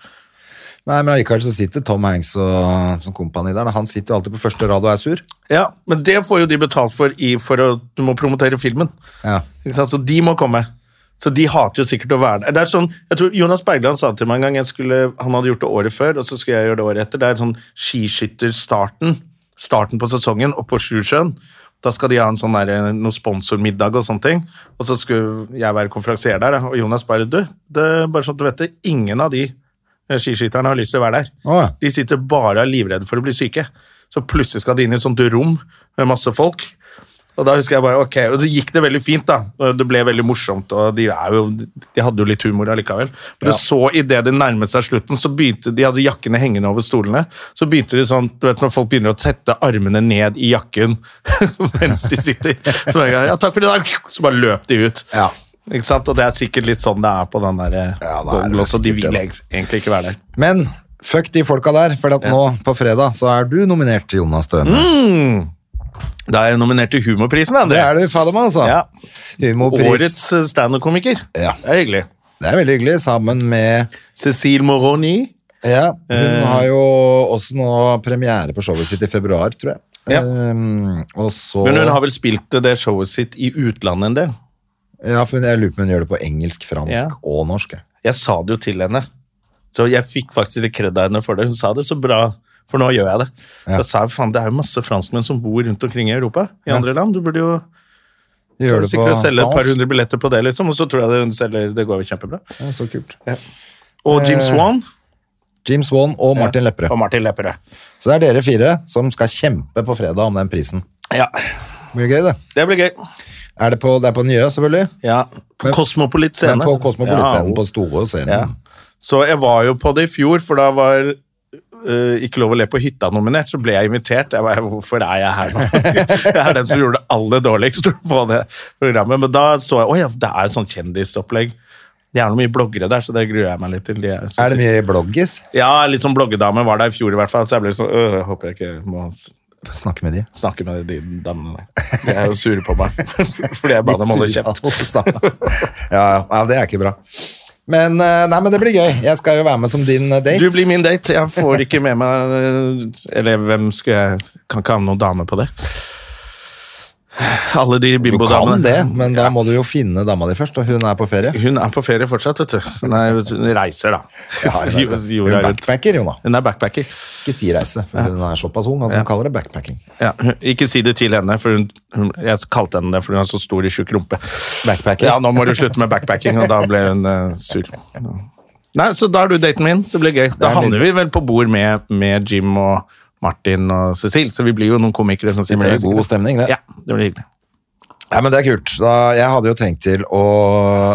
Speaker 1: Nei, men allikevel så sitter Tom Hanks og som kompani der. da. Han sitter jo alltid på første rad og er sur.
Speaker 2: Ja, Men det får jo de betalt for i, for å, du må promotere filmen.
Speaker 1: Ja.
Speaker 2: Ikke sant? Så de må komme. Så de hater jo sikkert å være der. Det er sånn, jeg tror Jonas Bergland sa det til meg en gang, jeg skulle, han hadde gjort det året før, og så skulle jeg gjøre det året etter. Det er sånn skiskytterstarten, starten på sesongen, oppe på Sjusjøen. Da skal de ha en sånn der, noe sponsormiddag og sånne ting. Og så skulle jeg være konferansier der, og Jonas bare, du, det er bare sånn at du vet det, ingen av de eh, skiskytterne har lyst til å være der.
Speaker 1: Å, ja.
Speaker 2: De sitter bare og er livredde for å bli syke. Så plutselig skal de inn i et sånt rom med masse folk. Og da husker jeg bare, ok, og så gikk det veldig fint da. Og Det ble veldig morsomt, og de, er jo, de hadde jo litt humor allikevel. Men
Speaker 1: Ja.
Speaker 2: du så i det det nærmet seg slutten, så begynte de hadde jakkene hengende over stolene. Så begynte de sånn, du vet når folk begynner å sette armene ned i jakken mens de sitter. Så bare, ja takk for i dag, så bare løp de ut.
Speaker 1: Ja.
Speaker 2: Ikke sant? Og det er sikkert litt sånn det er på den der
Speaker 1: Ja, det er
Speaker 2: Google
Speaker 1: vel
Speaker 2: også. De
Speaker 1: sikkert
Speaker 2: vil
Speaker 1: det,
Speaker 2: eg- egentlig ikke være der.
Speaker 1: Men fuck de folka der, for at nå på fredag så er du nominert til Jonas Støme.
Speaker 2: Mm, Hmm. Da er jeg nominert til Humorprisen, André.
Speaker 1: Det er du, fader meg, altså.
Speaker 2: Ja.
Speaker 1: Humorpris.
Speaker 2: Årets eh, standup-komiker.
Speaker 1: Ja.
Speaker 2: Det er hyggelig.
Speaker 1: Det er veldig hyggelig, sammen med
Speaker 2: Cécile Moroni.
Speaker 1: ja,
Speaker 2: Eh.
Speaker 1: Hun har jo også nå premiere på showet sitt i februar, tror jeg.
Speaker 2: Ja.
Speaker 1: Ehm, og så
Speaker 2: Men hun har vel spilt det showet sitt i utlandet en del.
Speaker 1: Ja, for jeg lurer på om hun gjør det på engelsk, fransk
Speaker 2: Ja.
Speaker 1: og norsk. jeg.
Speaker 2: Jeg sa det jo til henne. Så jeg fikk faktisk litt kred av henne for det. Hun sa det så bra, for nå gjør jeg det.
Speaker 1: Ja.
Speaker 2: Jeg sa jeg, faen, det er jo masse franskmenn som bor rundt omkring i Europa, i andre land. Du burde jo
Speaker 1: De gjør det på
Speaker 2: sikkert selge et par
Speaker 1: fransk.
Speaker 2: hundre billetter på det, liksom. Og så tror jeg det hun selger, det går jo kjempebra.
Speaker 1: Ja, så kult.
Speaker 2: Og Jim
Speaker 1: Eh,
Speaker 2: Swan
Speaker 1: James Wan og Martin Lepperød.
Speaker 2: og Martin Lepperød.
Speaker 1: Så det er dere fire som skal kjempe på fredag om den prisen.
Speaker 2: Ja,
Speaker 1: Det blir gøy, det.
Speaker 2: det blir gøy.
Speaker 1: Er det, på, det er på Nye, selvfølgelig.
Speaker 2: Ja.
Speaker 1: Men-
Speaker 2: Kosmopolit scene.
Speaker 1: Men på
Speaker 2: altså.
Speaker 1: Kosmopolitscenen,
Speaker 2: Ja,
Speaker 1: på Stoe scenen.
Speaker 2: Ja. Så jeg var jo på det i fjor, for da var eh, Ikke lov å le på hytta nominert, så ble jeg invitert. Jeg var, Hvorfor er jeg her nå? jeg er den som gjorde det aller dårligst på det programmet. Men da så jeg Å ja, det er jo sånn kjendisopplegg. Det er noe mye bloggere der, så det gruer jeg meg litt til. De er, så
Speaker 1: Er det mye bloggis?
Speaker 2: Ja, litt sånn bloggedame var der i fjor i hvert fall, så jeg ble litt sånn øh, jeg Håper jeg ikke må s-
Speaker 1: Snakke med de.
Speaker 2: snakke med de damene der. De er jo sure på meg fordi jeg ba dem holde kjeft.
Speaker 1: ja, ja, ja, det er ikke bra. Men, eh, nei, men det blir gøy. Jeg skal jo være med som din eh, date.
Speaker 2: Du blir min date. Jeg får ikke med meg eh, Eller hvem skal jeg Kan ikke ha med noen dame på det. Alle de
Speaker 1: du
Speaker 2: bimbodamene.
Speaker 1: kan det, men da må du jo finne dama di først, og hun er på ferie.
Speaker 2: Hun er på ferie fortsatt, vet du. Hun, er, hun reiser, da.
Speaker 1: Ja, jeg vet det.
Speaker 2: Jo-
Speaker 1: Hun
Speaker 2: jorda rundt.
Speaker 1: backpacker, Jona.
Speaker 2: Hun er backpacker.
Speaker 1: Ikke si reise, for hun er såpass ung at hun kaller det backpacking.
Speaker 2: Ja, hun- ikke si det til henne, for hun, hun, jeg kalte henne det fordi hun har så stor og tjukk rumpe.
Speaker 1: Backpacker.
Speaker 2: Ja, nå må du slutte med backpacking, og da ble hun eh, sur. Nei, Så da er du daten min, så blir det gøy. Da
Speaker 1: er
Speaker 2: havner vi vel på bord med, med Jim og Martin og Cecil, så vi blir jo noen komikere som sitter
Speaker 1: blir
Speaker 2: og-
Speaker 1: god stemning, det.
Speaker 2: Ja, det blir hyggelig.
Speaker 1: Ja, men det er kult. Da, jeg hadde jo tenkt til å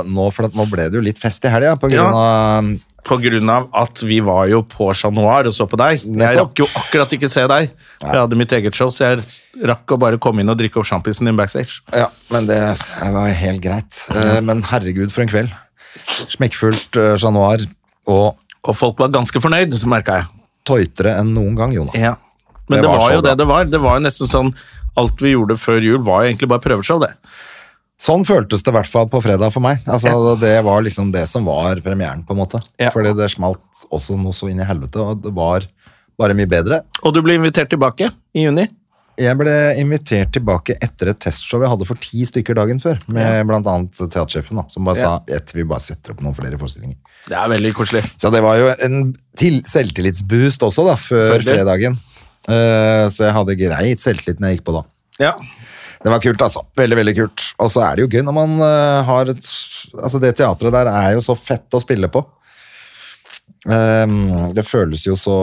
Speaker 1: Nå, for at nå ble det jo litt fest i helga, på grunn
Speaker 2: Ja.
Speaker 1: av
Speaker 2: På grunn av at vi var jo på Chat Noir og så på deg. Jeg
Speaker 1: Nettopp.
Speaker 2: rakk jo akkurat ikke se deg. Jeg hadde mitt eget show, så jeg rakk å bare komme inn og drikke opp sjampisen din backstage.
Speaker 1: Ja, men det var helt greit. Eh, Men herregud, for en kveld. Smekkfullt eh, Chat Noir og
Speaker 2: Og folk var ganske fornøyd, merka jeg.
Speaker 1: tøytere enn noen gang, Jonas.
Speaker 2: Ja. Men
Speaker 1: Det
Speaker 2: det
Speaker 1: var
Speaker 2: var,
Speaker 1: så
Speaker 2: jo
Speaker 1: bra.
Speaker 2: det det var. Det var jo nesten sånn Alt vi gjorde før jul, var jo egentlig bare prøveshow, det.
Speaker 1: Sånn føltes det i hvert fall på fredag for meg. Altså, Det var liksom det som var premieren, på en måte.
Speaker 2: Ja.
Speaker 1: Fordi det smalt også noe så inn i helvete, og det var bare mye bedre.
Speaker 2: Og du ble invitert tilbake i juni.
Speaker 1: Jeg ble invitert tilbake etter et testshow jeg hadde for ti stykker dagen før, med blant annet teatersjefen, da, som bare
Speaker 2: Ja.
Speaker 1: sa at vi bare setter opp noen flere forestillinger.
Speaker 2: Det er veldig koselig.
Speaker 1: Så det var jo en til selvtillitsboost også, da, før
Speaker 2: Selvfølgelig.
Speaker 1: fredagen. Eh, så jeg hadde greit selvtillit når jeg gikk på da.
Speaker 2: Ja.
Speaker 1: Det var kult, altså. Veldig, veldig kult. Og så er det jo gøy når man eh, har et Altså, det teatret der er jo så fett å spille på. Ehm, det føles jo så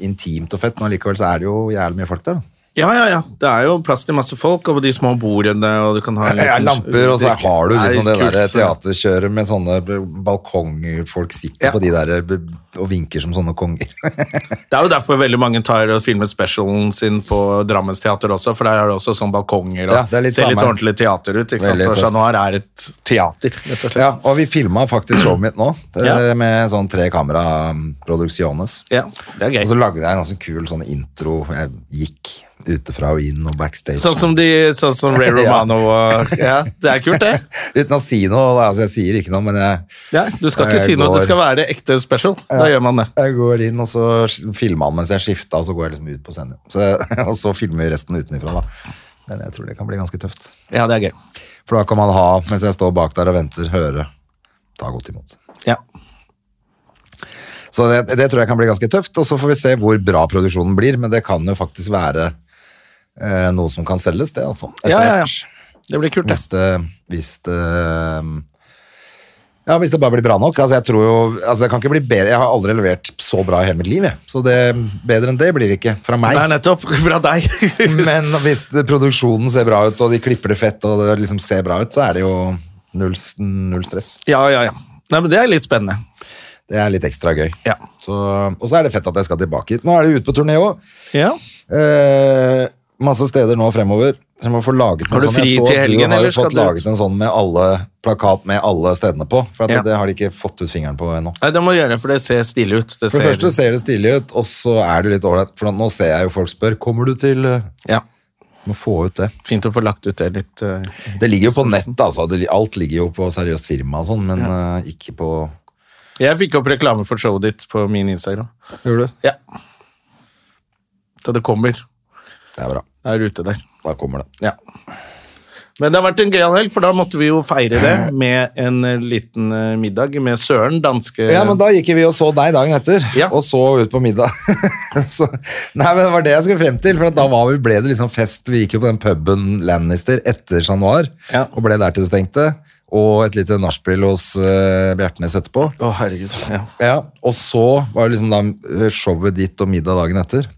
Speaker 1: intimt og fett, men allikevel så er det jo jævlig mye folk der. Da.
Speaker 2: Ja, ja, ja. Det er jo plass til masse folk, og de små bordene, og du kan ha en
Speaker 1: Ja,
Speaker 2: liten-
Speaker 1: lamper, og så har du
Speaker 2: Nei,
Speaker 1: liksom det der
Speaker 2: kult, så-
Speaker 1: teaterkjøret med sånne balkonger folk sitter
Speaker 2: Ja.
Speaker 1: på de der eh, og vinker som sånne konger.
Speaker 2: Det er jo derfor veldig mange tar og filmer specialen sin på Drammens teater også, for der er det også sånn balkonger, og
Speaker 1: Ja, det er litt
Speaker 2: ser litt
Speaker 1: samme.
Speaker 2: ordentlig teater ut, ikke sant?
Speaker 1: Veldig
Speaker 2: Og
Speaker 1: tøft.
Speaker 2: Chat Noir er et teater, rett og slett.
Speaker 1: Ja, og vi filma faktisk showet mitt nå,
Speaker 2: Ja.
Speaker 1: eh, med sånn tre kameraproduksjones.
Speaker 2: Ja, det er gøy.
Speaker 1: Og så lagde jeg en ganske kul sånn intro. Jeg gikk utefra og inn og backstage.
Speaker 2: Sånn som, de, sånn som Ray Romano og Ja, det er kult, det.
Speaker 1: Uten å si noe, da. altså jeg sier ikke noe, men jeg,
Speaker 2: Ja, du skal
Speaker 1: Jeg
Speaker 2: ikke si noe,
Speaker 1: går-
Speaker 2: det skal være ekte special. Da gjør man det.
Speaker 1: jeg går inn, og så filmer han mens jeg skifta, og så går jeg liksom ut på scenen. Så, og så filmer vi resten utenfra, da. Men jeg tror det kan bli ganske tøft.
Speaker 2: Ja, det er gøy.
Speaker 1: For da kan man ha, mens jeg står bak der og venter, høre ta godt imot.
Speaker 2: Ja.
Speaker 1: Så det, det tror jeg kan bli ganske tøft, og så får vi se hvor bra produksjonen blir, men det kan jo faktisk være eh, noe som kan selges, det, altså. Etter
Speaker 2: Ja, ja, ja.
Speaker 1: hvert.
Speaker 2: Det blir kult, det.
Speaker 1: Hvis det, hvis det ja, hvis det bare blir bra nok. Altså, jeg tror jo, altså, det kan ikke bli bedre. Jeg har aldri levert så bra i hele mitt liv, jeg. Så det, bedre enn det blir det ikke fra meg.
Speaker 2: Nei, nettopp. Fra deg.
Speaker 1: Men hvis det, produksjonen ser bra ut, og de klipper det fett, og det liksom ser bra ut, så er det jo null, s- null stress.
Speaker 2: ja, ja, ja. Nei, men det er litt spennende.
Speaker 1: Det er litt ekstra gøy.
Speaker 2: Ja.
Speaker 1: Så, og så er det fett at jeg skal tilbake hit. Nå er det jo ute på turné òg.
Speaker 2: Ja.
Speaker 1: Eh, masse steder nå fremover. Så jeg må få laget en
Speaker 2: Har du
Speaker 1: sånn.
Speaker 2: fri
Speaker 1: Jeg så
Speaker 2: til
Speaker 1: at
Speaker 2: helgen,
Speaker 1: Du har
Speaker 2: eller
Speaker 1: jo
Speaker 2: skal
Speaker 1: fått
Speaker 2: du ut?
Speaker 1: laget en sånn med alle plakat med alle stedene på. For at
Speaker 2: Ja.
Speaker 1: det har de ikke fått ut fingeren på ennå.
Speaker 2: Nei, det må du gjøre, for det ser stilig ut. Det
Speaker 1: For
Speaker 2: ser,
Speaker 1: det første ser det stilig ut, og så er det litt ålreit. For nå ser jeg jo folk spør Kommer du til eh,
Speaker 2: Ja,
Speaker 1: Må få ut det.
Speaker 2: Fint å få lagt ut det litt. eh,
Speaker 1: Det ligger jo på nett, altså. Det, alt ligger jo på seriøst firma og sånn, men eh, ikke på
Speaker 2: Jeg fikk opp reklame for showet ditt på min Instagram.
Speaker 1: Gjorde du?
Speaker 2: Ja. Så det kommer.
Speaker 1: Det er bra.
Speaker 2: Det er ute der.
Speaker 1: Da kommer det.
Speaker 2: Ja. Men det har vært en gøyal helg, for da måtte vi jo feire det med en eh, liten eh, middag med Søren, danske
Speaker 1: Ja, men da gikk vi og så deg dagen etter,
Speaker 2: Ja.
Speaker 1: og så ut på middag. så, nei, men det var det jeg skulle frem til, for at da var vi, ble det liksom fest. Vi gikk jo på den puben Lannister etter Chat Noir,
Speaker 2: Ja.
Speaker 1: og ble der til det stengte. Og et lite nachspiel hos eh, Bjertnæs etterpå.
Speaker 2: Å, herregud. Ja.
Speaker 1: Ja, og så var det liksom da eh, showet ditt og middag dagen etter.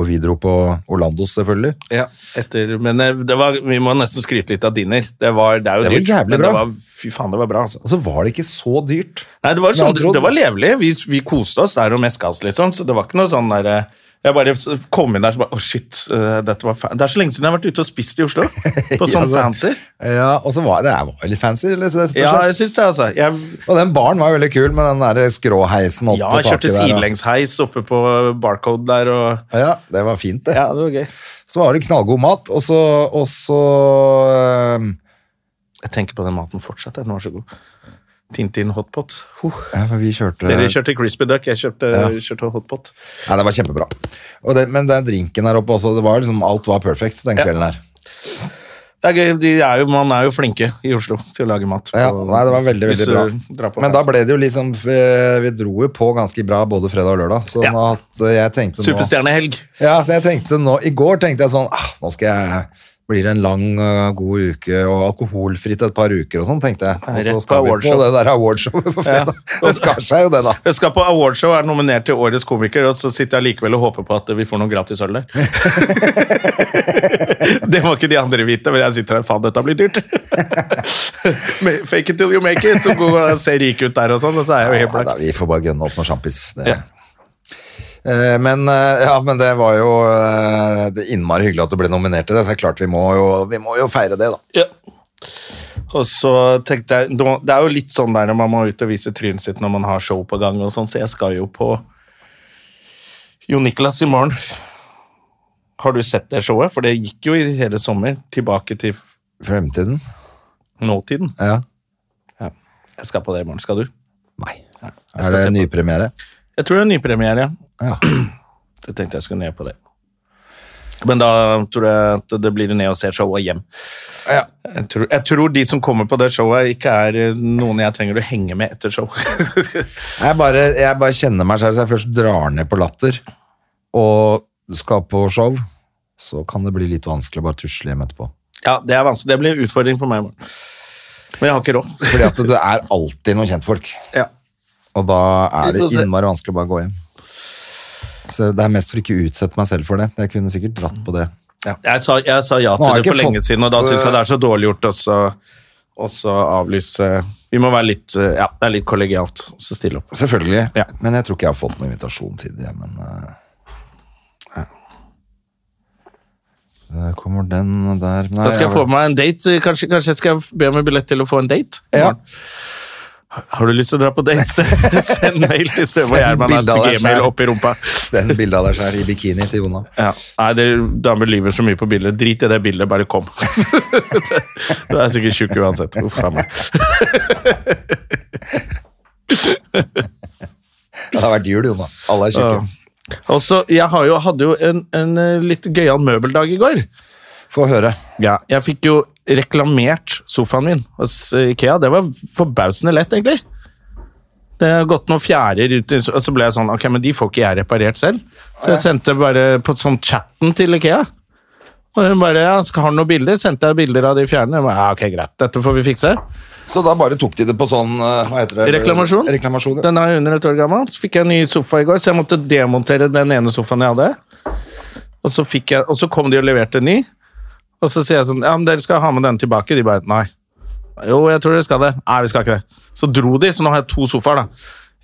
Speaker 1: Og vi dro på Orlandos, selvfølgelig.
Speaker 2: Ja, etter, men eh, det var, vi må nesten skryte litt av dinner. Det, var, det er jo
Speaker 1: Det var
Speaker 2: dyrt,
Speaker 1: jævlig
Speaker 2: men
Speaker 1: bra.
Speaker 2: det var, fy faen, det var bra. Altså.
Speaker 1: Og så var det ikke så dyrt.
Speaker 2: Nei, det var, sånn,
Speaker 1: Som jeg hadde trodd.
Speaker 2: det var levelig. Vi, vi koste oss der og meska oss, liksom. Så det var ikke noe sånn der eh, Jeg bare s- kom inn der så bare Å, shit. eh, Dette var fa det er så lenge siden jeg har vært ute og spist i Oslo. På sånn
Speaker 1: Ja,
Speaker 2: fancy.
Speaker 1: Ja, og så var det, det var litt fancy, eller? rett og slett.
Speaker 2: Ja, jeg syns det, altså. Jeg,
Speaker 1: Og den baren var jo veldig kul, med den der skråheisen opp
Speaker 2: ja,
Speaker 1: på
Speaker 2: jeg
Speaker 1: taket
Speaker 2: kjørte
Speaker 1: der. og-
Speaker 2: sidelengsheis oppe på Barcode der og
Speaker 1: Ja, det var fint det.
Speaker 2: Ja, det var gøy.
Speaker 1: Så var det knallgod mat, og så, og så ehm, øhm,
Speaker 2: Jeg tenker på den maten fortsatt. jeg. Den var så god. Tintin hotpot. Huh.
Speaker 1: ja, men Vi kjørte
Speaker 2: Dere kjørte crispy duck, jeg kjørte, kjørte hotpot.
Speaker 1: Nei, det var kjempebra. Og det, men den drinken der oppe også, det var liksom, alt var perfekt den kvelden her.
Speaker 2: Det er gøy, de er jo, Man er jo flinke i Oslo til å lage mat.
Speaker 1: Ja,
Speaker 2: på-
Speaker 1: nei, det var veldig,
Speaker 2: hvis
Speaker 1: veldig
Speaker 2: du
Speaker 1: bra.
Speaker 2: drar på
Speaker 1: Men da
Speaker 2: fest.
Speaker 1: ble det jo liksom øh, Vi dro jo på ganske bra både fredag og lørdag, så
Speaker 2: Ja.
Speaker 1: nå at øh, jeg tenkte nå
Speaker 2: Superstjernehelg.
Speaker 1: Ja, så jeg tenkte nå, I går tenkte jeg sånn ah, Nå skal jeg blir det en lang, øh, god uke og alkoholfritt et par uker og sånn, tenkte jeg. Og
Speaker 2: Rett
Speaker 1: så
Speaker 2: på
Speaker 1: skal vi på
Speaker 2: awardshow.
Speaker 1: det der awardshowet på fredag. Det skar seg jo, det, da.
Speaker 2: Jeg skal på awardshow og er nominert til Årets komiker, og så sitter jeg likevel og håper på at vi får noe gratis øl der. det må ikke de andre vite, men jeg sitter her faen, dette blir dyrt. Men Fake it till you make it. Så går jeg og ser rik ut der og sånn, og så er jeg jo helt
Speaker 1: Ja, da,
Speaker 2: blakk.
Speaker 1: vi får bare gønne opp noe sjampis. Det.
Speaker 2: Ja.
Speaker 1: Eh, Men, eh, ja, men det var jo eh, det er innmari hyggelig at du ble nominert til det, så det er klart vi må jo, vi må jo feire det, da.
Speaker 2: Ja. Og så tenkte jeg nå- Det er jo litt sånn der man må ut og vise trynet sitt når man har show på gang, og sånn, så jeg skal jo på Jo Niklas i morgen. Har du sett det showet? For det gikk jo i hele sommer. Tilbake til f-
Speaker 1: Fremtiden?
Speaker 2: nåtiden.
Speaker 1: Ja.
Speaker 2: Jeg skal på det i morgen. Skal du?
Speaker 1: Nei.
Speaker 2: skal
Speaker 1: Er det
Speaker 2: se på.
Speaker 1: nypremiere?
Speaker 2: Jeg tror det er nypremiere.
Speaker 1: Ja.
Speaker 2: Jeg tenkte jeg skulle ned på det. Men da tror jeg at det blir ned og se showet hjem.
Speaker 1: Ja.
Speaker 2: Jeg tror, jeg tror de som kommer på det showet, ikke er eh, noen jeg trenger å henge med etter show.
Speaker 1: Jeg bare, jeg bare kjenner meg selv, så jeg først drar ned på latter og skal på show, så kan det bli litt vanskelig å bare tusle hjem etterpå.
Speaker 2: ja, det er vanskelig. Det blir en utfordring for meg i morgen. Men jeg har ikke råd.
Speaker 1: Fordi at det er alltid noen kjentfolk,
Speaker 2: Ja.
Speaker 1: og da er det innmari vanskelig å bare gå hjem. Så det er mest for ikke å utsette meg selv for det. Jeg kunne sikkert dratt på det. Ja.
Speaker 2: Jeg sa, jeg sa ja
Speaker 1: Nå har
Speaker 2: til
Speaker 1: jeg
Speaker 2: det for
Speaker 1: ikke
Speaker 2: lenge
Speaker 1: fått,
Speaker 2: siden, og da
Speaker 1: eh,
Speaker 2: syns jeg det er så dårlig gjort også, også avlyse Vi må være litt eh, Ja, det er litt kollegialt også stille opp.
Speaker 1: Selvfølgelig.
Speaker 2: Ja.
Speaker 1: Men jeg tror ikke jeg har fått noen invitasjon til det. Men eh, ja. Der kommer den der Nei,
Speaker 2: Da skal jeg få
Speaker 1: har-
Speaker 2: med meg en date. eh, Kanskje, kanskje jeg skal be om en billett til å få en date?
Speaker 1: Ja.
Speaker 2: Har du lyst til å dra på date? Send- Send mail til Støve og
Speaker 1: Send
Speaker 2: Gjerman
Speaker 1: bilde
Speaker 2: at
Speaker 1: av deg
Speaker 2: gmail
Speaker 1: selv.
Speaker 2: opp i rumpa.
Speaker 1: Send bilde av deg sjøl i bikini til Jonna.
Speaker 2: Ja. Nei, dere damer lyver så mye på bilder. Drit i det bildet, bare kom. Du er jeg sikkert tjukk uansett. Uff a meg.
Speaker 1: Det har vært jul, Jonna. Alle er tjukke.
Speaker 2: Og så, jeg har jo, hadde jo en, en eh, litt gøyal møbeldag i går.
Speaker 1: Få høre.
Speaker 2: Ja, jeg fikk jo reklamert sofaen min hos eh, Ikea. Det var forbausende lett, egentlig. Det har gått noen fjærer ut, og så ble jeg sånn, ok, men de får ikke jeg reparert selv. Så jeg sendte bare på sånn chatten til Ikea. Og hun bare, ja, skal ha noen bilder? Sendte jeg bilder av de fjærene. Jeg bare, ja, ok, greit, dette får vi fikse.
Speaker 1: Så da bare tok de det på sånn eh, Hva heter det?
Speaker 2: Reklamasjon.
Speaker 1: Reklamasjon, ja.
Speaker 2: Den er under et år gammel. Så fikk jeg en ny sofa i går, så jeg måtte demontere den ene sofaen jeg hadde. Og så, fikk jeg, og så kom de og leverte en ny. Og så sier jeg sånn, ja, men dere skal ha med den tilbake. De bare, nei. Jo, jeg tror dere skal det. Nei, vi skal ikke det. Så dro de, så nå har jeg to sofaer da.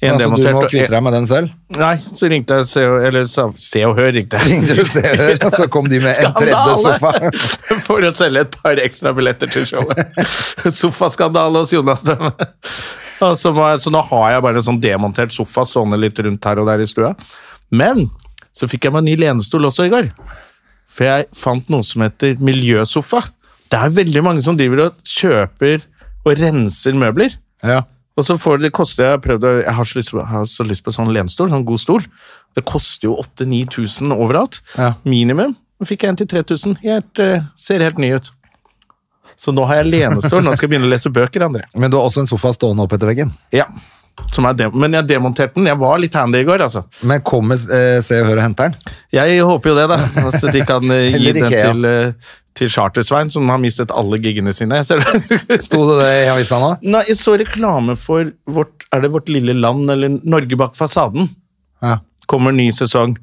Speaker 2: En
Speaker 1: Ja, så Altså, du
Speaker 2: demontert
Speaker 1: må
Speaker 2: og
Speaker 1: kvitte
Speaker 2: en-
Speaker 1: deg med den selv?
Speaker 2: Nei, så ringte jeg, Se og- eller sa, se og hør ringte jeg.
Speaker 1: Ringte du seere, og så kom de med en tredje sofa?
Speaker 2: Skandale! For å selge et par ekstra billetter til showet. Sofaskandale hos Jonas Dømme. Og Så, må jeg- så nå har jeg bare en sånn demontert sofa stående litt rundt her og der i stua. Men så fikk jeg meg en ny lenestol også i går. For jeg fant noe som heter miljøsofa. Det er veldig mange som driver og kjøper og renser møbler.
Speaker 1: Ja.
Speaker 2: Og så får det, det koster, jeg, har prøvd, å- jeg har så lyst, på- har så lyst på sånn lenstol, sånn god stol. Det koster jo 8000-9000 overalt.
Speaker 1: Ja.
Speaker 2: Minimum. Nå fikk jeg en til 3000. Helt, eh, ser helt ny ut. Så nå har jeg lenestol. Nå skal jeg begynne å lese bøker, André.
Speaker 1: Men du har også en sofa stående opp etter veggen.
Speaker 2: Ja. Som er dem- Men jeg demonterte den. Jeg var litt handy i går, altså.
Speaker 1: Men kommer eh, Se og Hør og henter den?
Speaker 2: Jeg håper jo det, da. At de kan eh, gi
Speaker 1: Eller
Speaker 2: den
Speaker 1: Ikea.
Speaker 2: til, eh, til Charter-Svein, som har mistet alle giggene sine. Jeg ser det.
Speaker 1: Sto det det i avisa nå?
Speaker 2: Nei, jeg så reklame for vårt, er det Vårt lille land eller Norge bak fasaden.
Speaker 1: Ja.
Speaker 2: kommer ny sesong.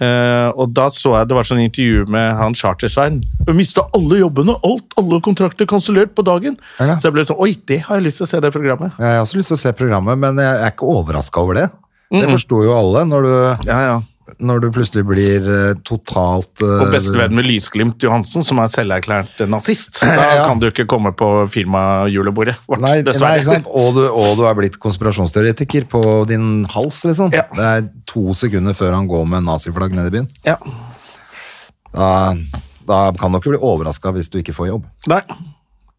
Speaker 2: Eh, og da så jeg det var sånn intervju med han Charter-Svein. Mista alle jobbene, alt, alle kontrakter kansellert på dagen.
Speaker 1: Ja.
Speaker 2: Så jeg ble sånn Oi, det har jeg lyst til å se det programmet.
Speaker 1: Jeg har også lyst til å se programmet, men jeg er ikke overraska over det. Det forsto jo alle når du,
Speaker 2: Ja, ja.
Speaker 1: når du plutselig blir eh, totalt eh,
Speaker 2: Og bestevenn med Lysglimt Johansen, som er selverklært nazist. Da
Speaker 1: Ja.
Speaker 2: kan du ikke komme på firmajulebordet vårt,
Speaker 1: Nei, nei,
Speaker 2: dessverre.
Speaker 1: ikke sant? Og, du, og du er blitt konspirasjonsteoretiker på din hals, liksom.
Speaker 2: Ja.
Speaker 1: Det er to sekunder før han går med naziflagg ned i byen.
Speaker 2: ja.
Speaker 1: Da, da kan du ikke bli overraska hvis du ikke får jobb.
Speaker 2: nei.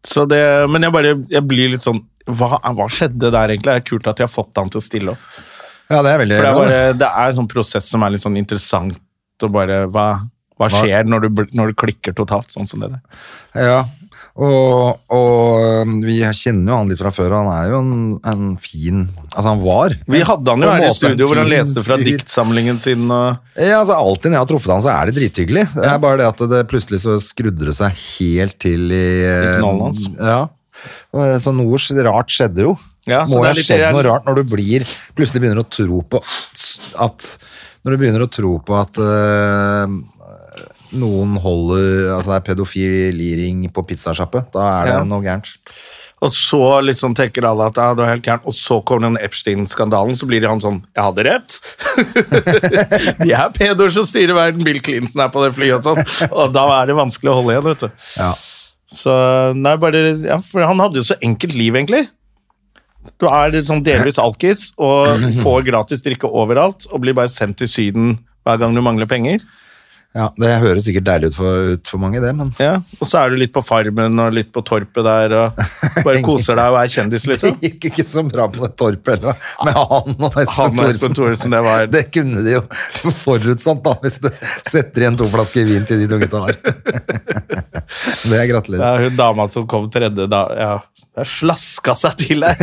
Speaker 2: Så det, men jeg bare jeg blir litt sånn hva, hva skjedde der, egentlig? Det er kult at de har fått han til å stille opp.
Speaker 1: Ja, det er veldig
Speaker 2: For det er,
Speaker 1: bra, det.
Speaker 2: bare, det er en sånn prosess som er litt sånn interessant å bare Hva, hva skjer når du, bl- når du klikker totalt, sånn som det der?
Speaker 1: Ja, og, og øhm, vi kjenner jo han litt fra før, og han er jo en, en fin Altså, han var
Speaker 2: Vi hadde han jo
Speaker 1: på en
Speaker 2: her i
Speaker 1: måte en
Speaker 2: studio hvor han
Speaker 1: fin
Speaker 2: leste fra
Speaker 1: fyr.
Speaker 2: diktsamlingen sin og
Speaker 1: Ja, altså Alltid når jeg har truffet han, så er det drithyggelig. Det er bare det at det plutselig så skrudde det seg helt til i
Speaker 2: I
Speaker 1: eh,
Speaker 2: knallen hans.
Speaker 1: Ja. Og, eh, Så noe s- rart skjedde jo.
Speaker 2: Ja, så det er
Speaker 1: Må jo ha
Speaker 2: litt-
Speaker 1: skjedd noe rart når du blir, plutselig begynner å tro på s- at Når du begynner å tro på at eh, noen holder Altså det er pedofiliring på pizzasjappe. Da er det
Speaker 2: Ja.
Speaker 1: noe gærent.
Speaker 2: Og så liksom tenker alle at ja, det er helt gærent, og så kommer den Epstein-skandalen, så blir han sånn Jeg hadde rett! De er pedoer som styrer verden, Bill Clinton er på det flyet og sånn. Og da er det vanskelig å holde igjen, vet du.
Speaker 1: Ja.
Speaker 2: Så nei, bare ja, For han hadde jo så enkelt liv, egentlig. Du er litt sånn delvis alkis og får gratis drikke overalt og blir bare sendt til Syden hver gang du mangler penger.
Speaker 1: Ja, Det høres sikkert deilig ut for, ut for mange, det, men
Speaker 2: Ja. Og så er du litt på Farmen og litt på Torpet der og bare koser deg og er kjendis,
Speaker 1: det
Speaker 2: liksom.
Speaker 1: gikk ikke så bra på det torpet heller, da, med han og
Speaker 2: Han
Speaker 1: Espen
Speaker 2: og Espen
Speaker 1: Thoresen.
Speaker 2: Thoresen, det var
Speaker 1: Det kunne de jo forutsatt, da, hvis du setter igjen to flasker vin til de to gutta der. Det er
Speaker 2: Det
Speaker 1: gratulerer.
Speaker 2: er hun dama som kom tredje da ja. Det er slaska seg til her!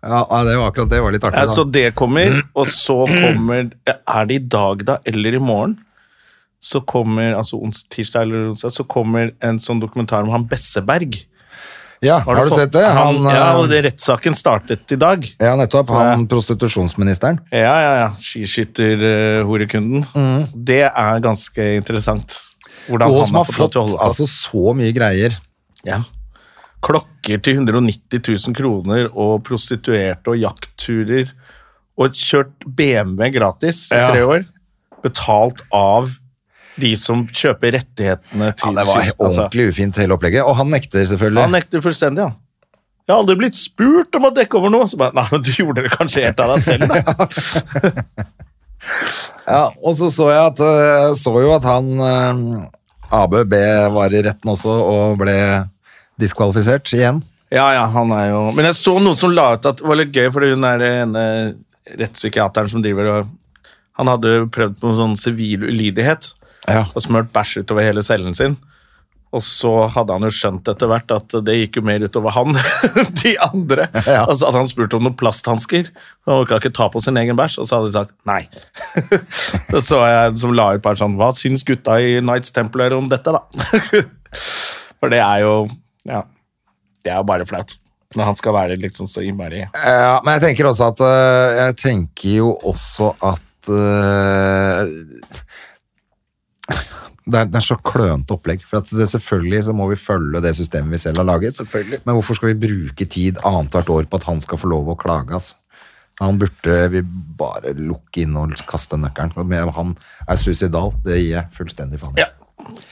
Speaker 1: Ja, ja, det var akkurat det var litt artig.
Speaker 2: Ja, så
Speaker 1: Da.
Speaker 2: det kommer, og så kommer Er det i dag, da, eller i morgen? Så kommer altså ons, tirsdag eller onsdag, så kommer en sånn dokumentar om han Besseberg.
Speaker 1: Ja, har du
Speaker 2: fått-
Speaker 1: sett det?
Speaker 2: Han,
Speaker 1: Han,
Speaker 2: ja,
Speaker 1: eh,
Speaker 2: og det- rettssaken startet i dag.
Speaker 1: Ja, nettopp. Han prostitusjonsministeren.
Speaker 2: Ja, ja, ja. Skiskytter-horekunden. Det er ganske interessant. Hvordan
Speaker 1: Og
Speaker 2: han
Speaker 1: som har
Speaker 2: lov
Speaker 1: fått
Speaker 2: til å holde på.
Speaker 1: altså, så mye greier.
Speaker 2: Ja. Klokker til 190 000 kroner og prostituerte og jaktturer. Og kjørt BMW gratis i
Speaker 1: Ja.
Speaker 2: tre år. Betalt av de som kjøper rettighetene til
Speaker 1: Ja, det var
Speaker 2: ski- altså,
Speaker 1: ordentlig ufint hele opplegget. Og han nekter, selvfølgelig.
Speaker 2: Han nekter fullstendig, han. Jeg har aldri blitt spurt om å dekke over noe. Så bare, Nei, men du gjorde det kanskje helt av deg selv, da.
Speaker 1: Ja, og så så jeg at, øh, så jo at han øh, ABB var i retten også og ble diskvalifisert igjen.
Speaker 2: Ja, ja, han er jo Men jeg så noen som la ut at det var litt gøy, fordi hun er ene rettspsykiateren som driver og Han hadde prøvd på noen sånn sivil ulydighet.
Speaker 1: Ja.
Speaker 2: og smørt bæsj utover hele cellen sin. Og så hadde han jo skjønt etter hvert at det gikk jo mer utover han enn de andre.
Speaker 1: Ja.
Speaker 2: Og så hadde han spurt om noen plasthansker. Han orka ikke ta på sin egen bæsj, og så hadde de sagt nei. så så jeg en som la ut bare sånn Hva syns gutta i Knights Templar om dette, da? For det er jo Ja. Det er jo bare flaut. Når han skal være liksom så innmari
Speaker 1: Ja, men jeg tenker også at øh, Jeg tenker jo også at øh, det, er, det er så klønete opplegg. For at det, selvfølgelig så må vi følge det systemet vi selv har laget. Men hvorfor skal vi bruke tid annethvert år på at han skal få lov å klage? Altså? Han burde vi bare lukke inn og kaste nøkkelen. Men Han er suicidal, det gir jeg fullstendig faen i.
Speaker 2: Ja.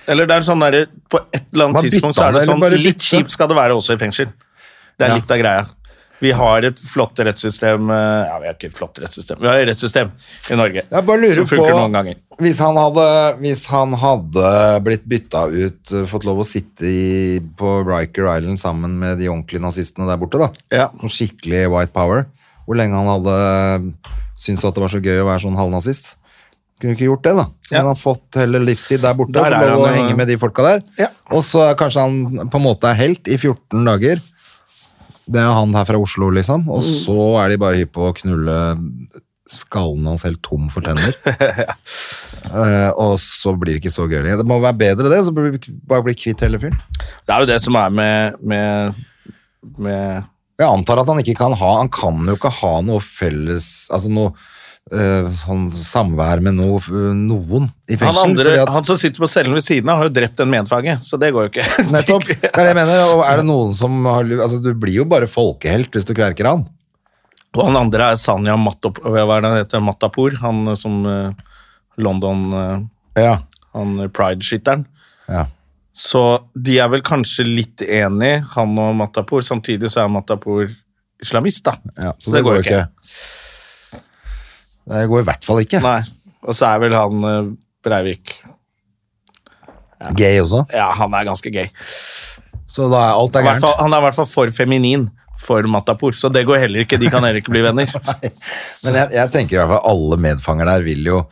Speaker 2: Eller det er sånn der, på et eller
Speaker 1: Man
Speaker 2: annet tidspunkt
Speaker 1: bytta
Speaker 2: så er det
Speaker 1: det, eller
Speaker 2: sånn,
Speaker 1: bare
Speaker 2: litt
Speaker 1: bytte.
Speaker 2: kjipt skal det være også i fengsel. Det er
Speaker 1: Ja.
Speaker 2: litt av greia. Vi har et flott rettssystem, eh, ja vi har ikke et flott rettssystem, vi har et rettssystem i Norge
Speaker 1: Jeg bare lurer
Speaker 2: som funker
Speaker 1: på
Speaker 2: noen ganger.
Speaker 1: Hvis han hadde, hvis han hadde blitt bytta ut, eh, fått lov å sitte i, på Riker Island sammen med de ordentlige nazistene der borte, da.
Speaker 2: Ja.
Speaker 1: Noen skikkelig white power. Hvor lenge han hadde syntes at det var så gøy å være sånn halvnazist. Kunne ikke gjort det, da.
Speaker 2: Ja.
Speaker 1: Men han har fått hele livstid der borte.
Speaker 2: Der
Speaker 1: Der
Speaker 2: er
Speaker 1: lov å
Speaker 2: han, eh,
Speaker 1: henge med de folka der.
Speaker 2: Ja.
Speaker 1: Og så er kanskje han på en måte er helt i 14 dager. Det er han her fra Oslo, liksom. Og
Speaker 2: Mm.
Speaker 1: så er de bare hypp på å knulle skallen hans helt tom for tenner. Eh, og så blir det ikke så gøy lenger. Det må være bedre det, så bør vi bare bli kvitt hele fyren.
Speaker 2: Det er jo det som er med, med, med
Speaker 1: Jeg antar at han ikke kan ha Han kan jo ikke ha noe felles Altså noe eh, sånn samvær med noe, noen i fengsel.
Speaker 2: han, andre,
Speaker 1: fordi at-
Speaker 2: han som sitter på cellen ved siden av har jo drept en medfange, så det går jo ikke.
Speaker 1: Nettopp. Det er det jeg mener. Og er det noen som har lu- Altså, du blir jo bare folkehelt hvis du kverker han.
Speaker 2: Og han andre er Sanja Matop, hva er det han heter? Matapour, han eh, som eh, London, eh,
Speaker 1: Ja.
Speaker 2: han Pride-skytteren.
Speaker 1: ja.
Speaker 2: Så de er vel kanskje litt enige, han og Matapour. Samtidig så er Matapour islamist, da.
Speaker 1: Så, det, går jo ikke. Det går i hvert fall ikke.
Speaker 2: Nei. Og så er vel han eh, Breivik
Speaker 1: Gay også.
Speaker 2: Ja, han er ganske gay.
Speaker 1: Så da er
Speaker 2: I
Speaker 1: alt er
Speaker 2: hvert
Speaker 1: gærent.
Speaker 2: fall, han er i hvert fall for feminin for Matapour, så det går heller ikke. De kan heller ikke bli venner.
Speaker 1: Men jeg, jeg tenker i hvert fall alle medfanger der vil jo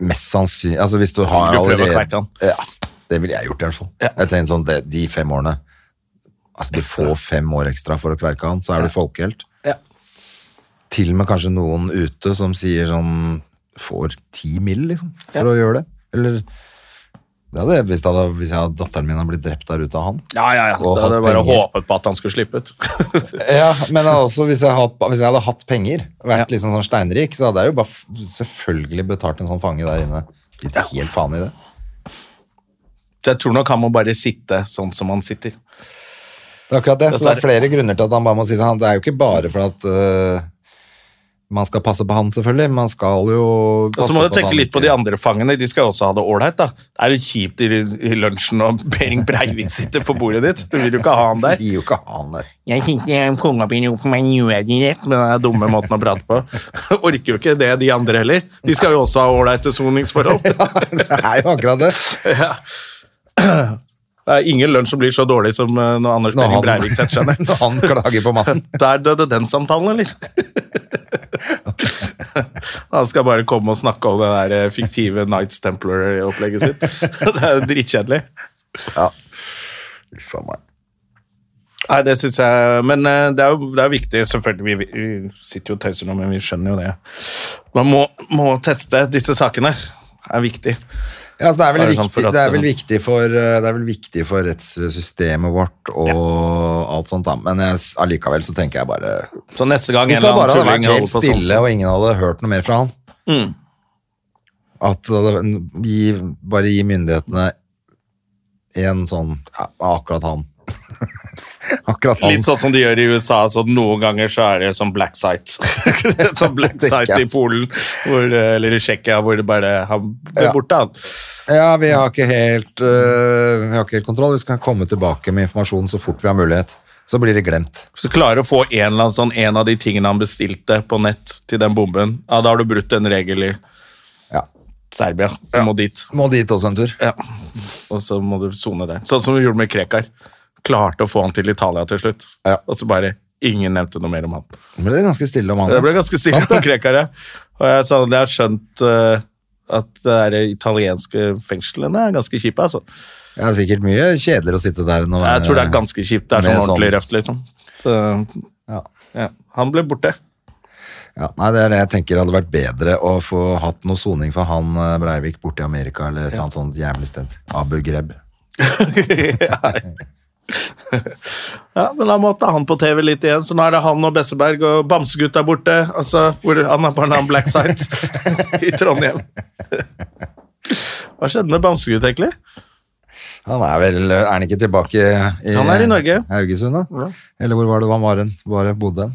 Speaker 1: mest sannsynlig Altså hvis du har
Speaker 2: Vil du prøve å
Speaker 1: allerede
Speaker 2: kverke han?
Speaker 1: Ja, det ville jeg gjort i hvert fall. Jeg tenker sånn, det, De fem årene Altså Du får fem år ekstra for å kverke han, så er du folkehelt.
Speaker 2: Ja.
Speaker 1: Til og med kanskje noen ute som sier sånn Får ti mil, liksom, for å gjøre det. Eller det hadde, jeg- hvis, det hadde, hvis jeg hadde, datteren min hadde blitt drept der ute av han.
Speaker 2: Ja, ja, ja.
Speaker 1: Og
Speaker 2: Da hadde
Speaker 1: hatt
Speaker 2: jeg bare
Speaker 1: penger.
Speaker 2: håpet på at han skulle slippe ut.
Speaker 1: Ja, men altså, hvis jeg, hadde, hvis jeg hadde hatt penger, vært
Speaker 2: Ja.
Speaker 1: liksom sånn steinrik, så hadde jeg jo bare f- selvfølgelig betalt en sånn fange der inne. Gitt helt faen i det.
Speaker 2: Så jeg tror nok han må bare sitte sånn som han sitter.
Speaker 1: Det er akkurat det,
Speaker 2: Og
Speaker 1: så
Speaker 2: så
Speaker 1: det
Speaker 2: er
Speaker 1: er flere grunner til at han bare må si det. Han- Det er jo ikke bare for at øh, man skal passe på han, selvfølgelig. Man skal jo
Speaker 2: Og
Speaker 1: passe
Speaker 2: så må du
Speaker 1: at
Speaker 2: tenke
Speaker 1: han
Speaker 2: litt på
Speaker 1: ikke-
Speaker 2: de andre fangene. De skal jo også ha det ålreit. da. Det er jo kjipt i, i lunsjen når Behring Breivik sitter på bordet ditt. Du vil jo ikke ha han
Speaker 1: De
Speaker 2: der.
Speaker 1: gir jo ikke han der.
Speaker 2: Jeg kjenner konga begynner opp med nødrett med den dumme måten å prate på. Orker jo ikke det, de andre heller. De skal jo også ha ålreite soningsforhold.
Speaker 1: Det er jo akkurat det.
Speaker 2: Det er ingen lunsj som blir så dårlig som eh, når Anders
Speaker 1: Når
Speaker 2: Behring
Speaker 1: han-
Speaker 2: Breivik setter seg ned.
Speaker 1: Når han klager på mannen.
Speaker 2: Der døde den samtalen, eller? Han skal bare komme og snakke om det der eh, fiktive Nights Templar-opplegget sitt. Det er jo drittkjedelig.
Speaker 1: Uff a meg.
Speaker 2: Nei, det syns jeg Men eh, det er jo det er jo viktig, selvfølgelig. Vi, vi sitter jo og tøyser nå, men vi skjønner jo det. Man må, må teste disse sakene. Det er viktig.
Speaker 1: Ja, altså det, er vel
Speaker 2: Bare sånn
Speaker 1: viktig,
Speaker 2: for at-
Speaker 1: det, er vel viktig for, eh, det er vel viktig for rettssystemet vårt og alt sånt, da. men jeg, s- allikevel så tenker jeg bare
Speaker 2: Så neste gang
Speaker 1: Hvis
Speaker 2: en
Speaker 1: det
Speaker 2: eller
Speaker 1: bare hadde
Speaker 2: annen tulling holder på
Speaker 1: vært helt
Speaker 2: sånn, Mm.
Speaker 1: stille, og ingen hadde hørt noe mer fra han At det hadde, gi, bare gi myndighetene en sånn ja, Akkurat han. akkurat han.
Speaker 2: Litt sånn som de gjør i USA, så noen ganger så er det sånn black site. sånn black
Speaker 1: Det er
Speaker 2: site i
Speaker 1: ikke-
Speaker 2: Polen, hvor, eh, eller i Tsjekkia, hvor det bare han ble
Speaker 1: Ja.
Speaker 2: borte. han.
Speaker 1: Ja, vi har ikke helt øh, Vi har ikke helt kontroll. Vi skal komme tilbake med informasjon så fort vi har mulighet. Så blir det glemt.
Speaker 2: Så klarer du å få en eller annen sånn, en av de tingene han bestilte på nett til den bomben, ja, da har du brutt en regel i
Speaker 1: Ja.
Speaker 2: Serbia. Du må dit.
Speaker 1: Må dit også en tur.
Speaker 2: Ja. Og så må du sone der. Sånn som vi gjorde med Krekar. Klarte å få han til Italia til slutt.
Speaker 1: Ja.
Speaker 2: Og så bare Ingen nevnte noe mer om han.
Speaker 1: Det ble ganske stille om han.
Speaker 2: Det ble ganske stille
Speaker 1: Sant
Speaker 2: om Krekar, ja. Og jeg sa at jeg har skjønt eh, at det er de italienske fengslene er ganske kjipe, altså.
Speaker 1: Det er sikkert mye kjedeligere å sitte der enn å
Speaker 2: Jeg tror det er ganske kjipt. Det er
Speaker 1: Med
Speaker 2: sånn
Speaker 1: sånn-
Speaker 2: ordentlig røft, liksom. Så,
Speaker 1: Ja.
Speaker 2: ja. Han ble borte.
Speaker 1: Ja, nei, det er det jeg tenker hadde vært bedre å få hatt noe soning for han eh, Breivik borte i Amerika eller et eller annet sånt jævlig sted. Abu Greb.
Speaker 2: Ja, men da måtte han på TV litt igjen, så nå er det han og Besseberg og Bamsegutt er borte. Altså, hvor han er bare navn Black Site i Trondheim. Hva skjedde med Bamsegutt, egentlig?
Speaker 1: Han er vel Er han ikke tilbake i
Speaker 2: Han er i Norge.
Speaker 1: Haugesund, da?
Speaker 2: Ja.
Speaker 1: Eller hvor var det han var hen? Bare bodde hen?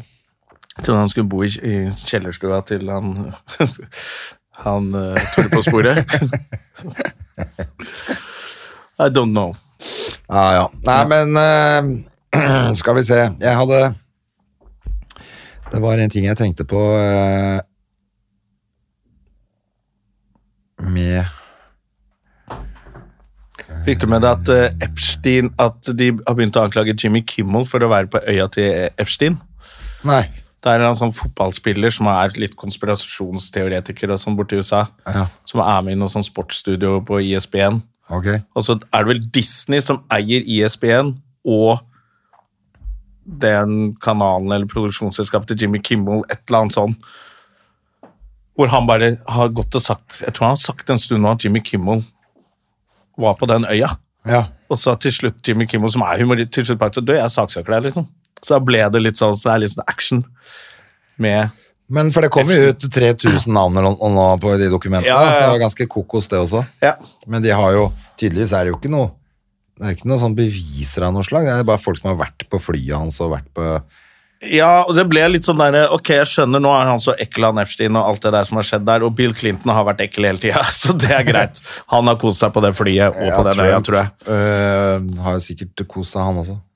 Speaker 2: Jeg trodde han skulle bo i, i kjellerstua til han Han uh, tuller på sporet. I don't know.
Speaker 1: Ja, ja. Nei, men eh, skal vi se. Jeg hadde Det var en ting jeg tenkte på eh, med
Speaker 2: Fikk du med deg at eh, Epstein At de har begynt å anklage Jimmy Kimmel for å være på øya til Epstein?
Speaker 1: Nei.
Speaker 2: Det er en eller annen sånn fotballspiller som er litt konspirasjonsteoretiker og sånn borte i USA.
Speaker 1: Ja.
Speaker 2: Som er med i noe sånn sportsstudio på E ISBN.
Speaker 1: Ok.
Speaker 2: Og så er det vel Disney som eier E ISBN og den kanalen eller produksjonsselskapet til Jimmy Kimmel, et eller annet sånn. Hvor han bare har gått og sagt Jeg tror han har sagt en stund nå at Jimmy Kimmel var på den øya.
Speaker 1: Ja.
Speaker 2: Og så til slutt Jimmy Kimmel, som er humorist, til slutt bare Du, jeg saksøker deg, liksom. Så da ble det litt sånn, så det er litt sånn action med
Speaker 1: Men for det kom jo ut 3000 navn eller noe nå på de dokumentene,
Speaker 2: Ja, ja, ja.
Speaker 1: så det var ganske kokos det også.
Speaker 2: Ja.
Speaker 1: Men de har jo, tydeligvis er det jo ikke noe, det er ikke noe sånn beviser av noe slag, det er bare folk som har vært på flyet hans og vært på,
Speaker 2: Ja, og det ble litt sånn der, ok, jeg skjønner, nå er han så ekkel han Epstein og alt det der som har skjedd der, og Bill Clinton har vært ekkel hele tida, så det er greit. Han har kost seg på det flyet og på den øya, tror jeg.
Speaker 1: Øh, har jo sikkert koset han også.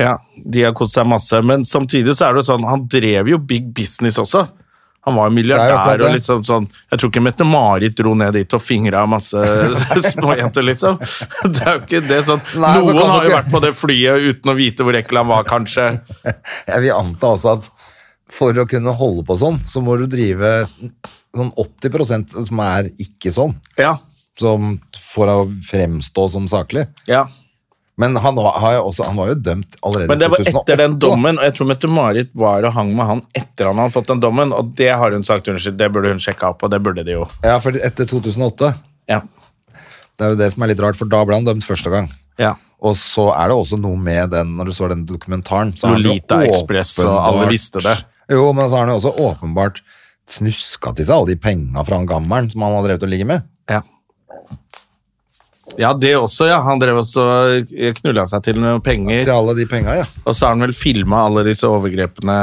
Speaker 2: Ja, De har kost seg masse, men samtidig så er det jo sånn, han drev jo big business også. Han var jo
Speaker 1: Det er jo
Speaker 2: milliardær
Speaker 1: klart
Speaker 2: og
Speaker 1: det.
Speaker 2: liksom sånn Jeg tror ikke Mette-Marit dro ned dit og fingra masse småjenter, liksom. Det er jo ikke det sånn.
Speaker 1: Nei, så
Speaker 2: Noen
Speaker 1: kan
Speaker 2: har
Speaker 1: du
Speaker 2: jo
Speaker 1: ikke-
Speaker 2: vært på det flyet uten å vite hvor ekkel han var, kanskje.
Speaker 1: Jeg vil anta også at for å kunne holde på sånn, så må du drive sånn 80% som er ikke sånn,
Speaker 2: Ja.
Speaker 1: som for å fremstå som saklig.
Speaker 2: ja.
Speaker 1: Men han var, har jo også, han var jo dømt allerede
Speaker 2: Men det
Speaker 1: i
Speaker 2: var
Speaker 1: 2008.
Speaker 2: etter den
Speaker 1: da.
Speaker 2: dommen, og jeg tror Mette-Marit var og hang med han etter han hadde fått den dommen, og det har hun sagt, unnskyld, det burde hun sjekka opp, og det burde de jo.
Speaker 1: Ja, for etter 2008
Speaker 2: Ja.
Speaker 1: Det er jo det som er litt rart, for da ble han dømt første gang. Og så er det også noe med den, når du så den dokumentaren så har han jo
Speaker 2: Lolita Express, og alle
Speaker 1: åpenbart-
Speaker 2: visste det.
Speaker 1: Jo, men så har han jo også åpenbart snuska til seg alle de penga fra han gammelen som han har drevet og ligget med.
Speaker 2: Ja. Ja, det også, ja. Han drev også knulla seg til med
Speaker 1: Til
Speaker 2: penger,
Speaker 1: alle de penga, ja.
Speaker 2: og så har han vel filma alle disse overgrepene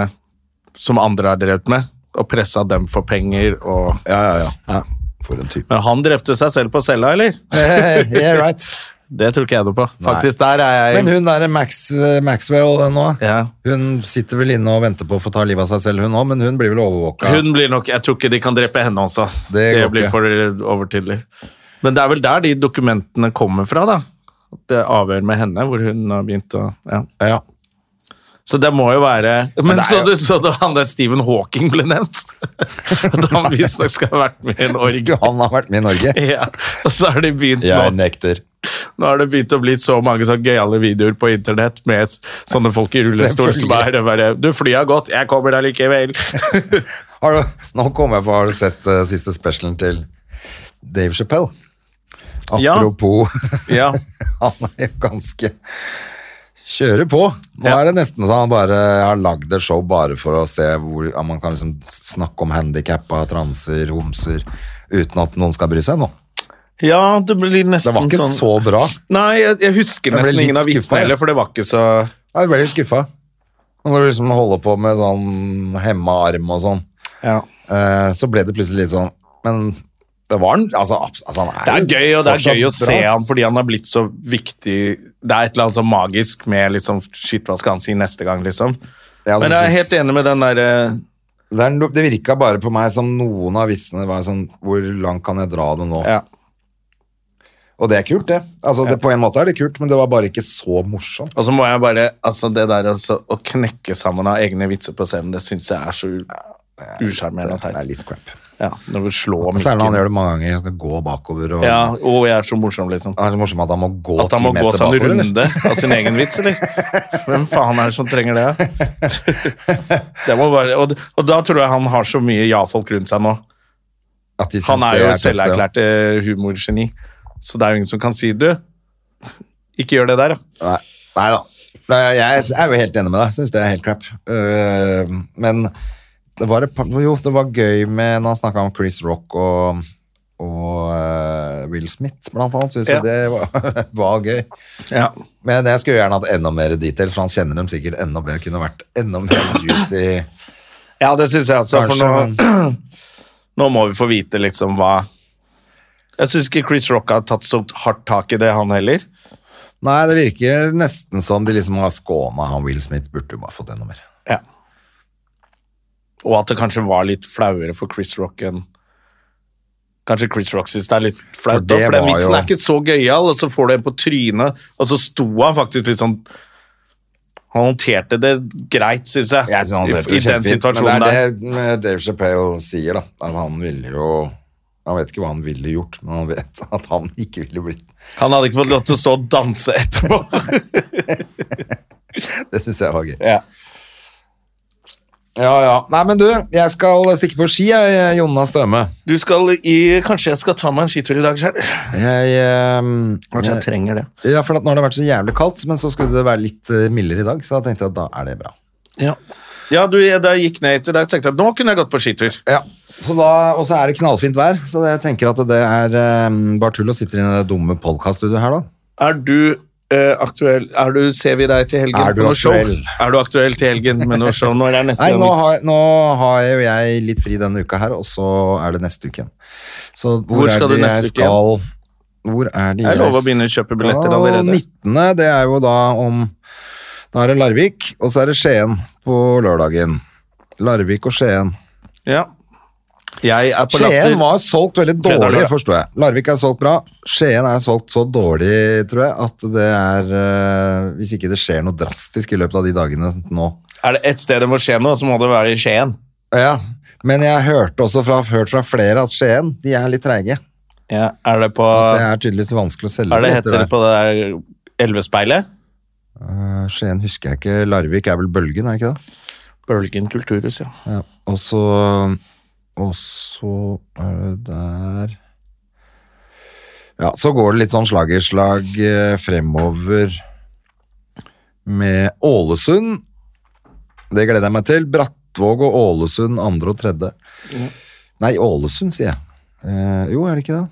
Speaker 2: som andre har drevet med, og pressa dem for penger og
Speaker 1: Ja, ja, ja. For en type.
Speaker 2: Men han drepte seg selv på cella, eller?
Speaker 1: yeah, right.
Speaker 2: Det tror ikke jeg noe på. Faktisk, der er jeg
Speaker 1: Men hun derre Max, Maxwell nå,
Speaker 2: ja.
Speaker 1: hun sitter vel inne og venter på å få ta livet av seg selv, hun òg, men hun blir vel overvåka.
Speaker 2: Hun blir nok, Jeg tror ikke de kan drepe henne også.
Speaker 1: Det
Speaker 2: Det,
Speaker 1: går
Speaker 2: blir
Speaker 1: ikke.
Speaker 2: for eh, overtydelig. Men det er vel der de dokumentene kommer fra, da. At Det avhør med henne, hvor hun har begynt å ja.
Speaker 1: Ja.
Speaker 2: Så det må jo være Men,
Speaker 1: det er
Speaker 2: så
Speaker 1: jo-
Speaker 2: du så da han der Stephen Hawking ble nevnt? At han visstnok skal ha vært med i en org.
Speaker 1: Skulle han ha vært med i Norge?
Speaker 2: Ja. Og så har de begynt
Speaker 1: Jeg
Speaker 2: nå,
Speaker 1: nekter.
Speaker 2: nå har det begynt å bli så mange sånn gøyale videoer på internett med s- sånne folk i rullestol som
Speaker 1: Selvfølgelig.
Speaker 2: er det bare Du, flyet har gått, jeg kommer deg likevel.
Speaker 1: Har du, nå kommer jeg på, har du sett eh, siste specialen til Dave Chappelle?
Speaker 2: Ja.
Speaker 1: Apropos,
Speaker 2: Ja.
Speaker 1: han er jo ganske Kjører på. Nå
Speaker 2: Ja.
Speaker 1: er det nesten så han bare har lagd et show bare for å se hvor ja, man kan liksom snakke om handikappa, transer, homser, uten at noen skal bry seg nå.
Speaker 2: ja, det blir
Speaker 1: Det
Speaker 2: nesten
Speaker 1: var ikke
Speaker 2: sånn
Speaker 1: så bra.
Speaker 2: Nei, jeg, jeg husker
Speaker 1: Jeg ble
Speaker 2: nesten
Speaker 1: litt
Speaker 2: ingen av
Speaker 1: skuffa,
Speaker 2: vitsene
Speaker 1: ja.
Speaker 2: heller, for det var ikke så
Speaker 1: Ja, Jeg ble litt skuffa. Nå må du liksom holde på med sånn hemma arm og sånn.
Speaker 2: ja.
Speaker 1: Eh, så ble det plutselig litt sånn Men det var en altså, abs- altså, han
Speaker 2: Det er
Speaker 1: jo
Speaker 2: gøy, og det er
Speaker 1: fortsatt
Speaker 2: gøy å se
Speaker 1: bra.
Speaker 2: ham fordi han har blitt så viktig Det er et eller annet sånn magisk med liksom Shit, hva skal han si neste gang, liksom?
Speaker 1: Ja,
Speaker 2: Men
Speaker 1: altså,
Speaker 2: jeg er helt enig med den eh, derre
Speaker 1: Det, er no, det virka bare på meg som noen av vitsene var sånn Hvor langt kan jeg dra det nå?
Speaker 2: ja.
Speaker 1: Og det er kult, det. Altså, det. På en måte er det kult, men det var bare ikke så morsomt.
Speaker 2: Og så må jeg bare Altså, det der altså, å knekke sammen av egne vitser på scenen, det syns jeg er så u-
Speaker 1: Det
Speaker 2: usjarmerende og
Speaker 1: er
Speaker 2: teit.
Speaker 1: litt crap.
Speaker 2: Ja, når du slår
Speaker 1: Og Særlig når han
Speaker 2: mikken.
Speaker 1: gjør det mange ganger. Han skal gå bakover og
Speaker 2: Ja, og jeg er så morsom, liksom.
Speaker 1: Det er så morsomt at han må gå
Speaker 2: At han
Speaker 1: ti
Speaker 2: må gå sånn
Speaker 1: meter
Speaker 2: seg en
Speaker 1: bakover. eller?
Speaker 2: runde av sin egen vits, eller? Hvem faen er det som trenger det? det må bare, og, og da tror jeg han har så mye ja-folk rundt seg nå.
Speaker 1: At de syns
Speaker 2: Han
Speaker 1: det
Speaker 2: er jo
Speaker 1: tøft, ja.
Speaker 2: selverklært eh, humorgeni, så det er jo ingen som kan si du, ikke gjør det der, da.
Speaker 1: Nei, nei da. Nei, jeg er jo helt enig med deg. Syns det er helt crap. Øh, men det var, et par- jo, det var gøy med når han snakka om Chris Rock og, og øh, Will Smith, blant annet. Syns
Speaker 2: Ja.
Speaker 1: jeg det var, var gøy.
Speaker 2: Ja.
Speaker 1: Men jeg skulle gjerne hatt enda mer details, for han kjenner dem sikkert enda bedre. Kunne vært enda mer juicy,
Speaker 2: det syns jeg også. for
Speaker 1: kanskje.
Speaker 2: nå,
Speaker 1: men,
Speaker 2: nå må vi få vite liksom hva Jeg syns ikke Chris Rock har tatt så hardt tak i det, han heller.
Speaker 1: nei, det virker nesten som de liksom har skåna han Will Smith. Burde jo bare fått enda mer.
Speaker 2: Ja. Og at det kanskje var litt flauere for Chris Rock enn Kanskje Chris Rock syns det er litt flaut,
Speaker 1: For
Speaker 2: da,
Speaker 1: det
Speaker 2: for den
Speaker 1: var
Speaker 2: vitsen
Speaker 1: jo-
Speaker 2: er ikke så gøyal, og så får du en på trynet, og så sto han faktisk litt sånn Han håndterte det greit, syns jeg,
Speaker 1: Jeg synes han
Speaker 2: i,
Speaker 1: håndterte
Speaker 2: i
Speaker 1: det
Speaker 2: den
Speaker 1: kjempefint,
Speaker 2: situasjonen
Speaker 1: men det
Speaker 2: der.
Speaker 1: er det eh, Dave Chappelle sier, da. At han ville jo Han vet ikke hva han ville gjort, men han vet at han ikke ville blitt
Speaker 2: Han hadde ikke fått lov til å stå og danse etterpå.
Speaker 1: Det syns jeg var gøy.
Speaker 2: ja.
Speaker 1: Ja, ja. Nei, men du, jeg skal stikke på ski, jeg, eh, Jonna Støme.
Speaker 2: Du skal i Kanskje jeg skal ta meg en skitur i dag sjøl?
Speaker 1: Jeg, ehm,
Speaker 2: Kanskje jeg trenger det.
Speaker 1: ja, for at nå har det vært så jævlig kaldt, men så skulle det være litt eh, mildere i dag, så da tenkte jeg at da er det bra.
Speaker 2: Ja, ja du, jeg, da jeg gikk ned hit i dag, tenkte jeg at nå kunne jeg gått på skitur.
Speaker 1: Ja, så da, Og så er det knallfint vær, så jeg tenker at det er ehm, bare tull å sitte i det dumme podkaststudioet her, da.
Speaker 2: Er du eh, aktuell er du, Ser vi deg til helgen
Speaker 1: Er du
Speaker 2: på noe show?
Speaker 1: aktuell?
Speaker 2: Er du aktuell til helgen med noe show? Når er neste
Speaker 1: Nei,
Speaker 2: gang
Speaker 1: nå
Speaker 2: vi-
Speaker 1: har, nå har jo jeg litt fri denne uka her, og så er det neste uke igjen. Så hvor,
Speaker 2: Hvor skal
Speaker 1: er det
Speaker 2: du neste
Speaker 1: jeg
Speaker 2: uke igjen?
Speaker 1: skal Hvor er det
Speaker 2: Jeg lover å begynne å kjøpe billetter
Speaker 1: skal?
Speaker 2: allerede.
Speaker 1: 19. Det er jo da om Da er det Larvik, og så er det Skien på lørdagen. Larvik og Skien.
Speaker 2: ja. Jeg er på latter.
Speaker 1: Skien var solgt veldig
Speaker 2: Fredag,
Speaker 1: dårlig,
Speaker 2: lørdag.
Speaker 1: forsto jeg. Larvik er solgt bra. Skien er solgt så dårlig, tror jeg, at det er eh, Hvis ikke det skjer noe drastisk i løpet av de dagene nå,
Speaker 2: Er det ett sted det må skje noe, så må det være i Skien.
Speaker 1: Ja, men jeg hørte også fra, hørt fra flere at Skien, de er litt treige.
Speaker 2: Ja. Er det på
Speaker 1: Det er tydeligvis vanskelig å selge
Speaker 2: Er det
Speaker 1: etter
Speaker 2: heter det på det der Elvespeilet?
Speaker 1: Eh, Skien husker jeg ikke. Larvik er vel Bølgen, er det ikke det?
Speaker 2: Bølgen kulturhus, ja.
Speaker 1: Ja. Og så Og så er det der Ja, så går det litt sånn slagerslag eh, fremover med Ålesund. Det gleder jeg meg til. Brattvåg og Ålesund andre og tredje. Nei, Ålesund, sier jeg. Eh, jo, er det ikke det?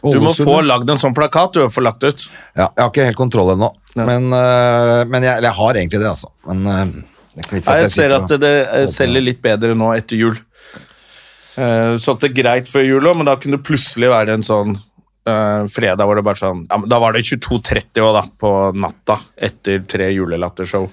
Speaker 2: Du må
Speaker 1: Ålesund,
Speaker 2: få
Speaker 1: ja.
Speaker 2: lagd en sånn plakat du har få lagt ut.
Speaker 1: Ja, jeg har ikke helt kontroll ennå, men, øh, men jeg, eller jeg har egentlig det, altså. Men øh, det er ikke vits
Speaker 2: Nei,
Speaker 1: at
Speaker 2: jeg ser
Speaker 1: sitter
Speaker 2: at
Speaker 1: og-
Speaker 2: det, det eh, selger litt bedre nå etter jul. Eh, Så det er greit før jul òg, men da kunne det plutselig være en sånn eh, fredag hvor det bare sånn ja, men Da var det 22.30 også da, på natta etter tre julelattershow.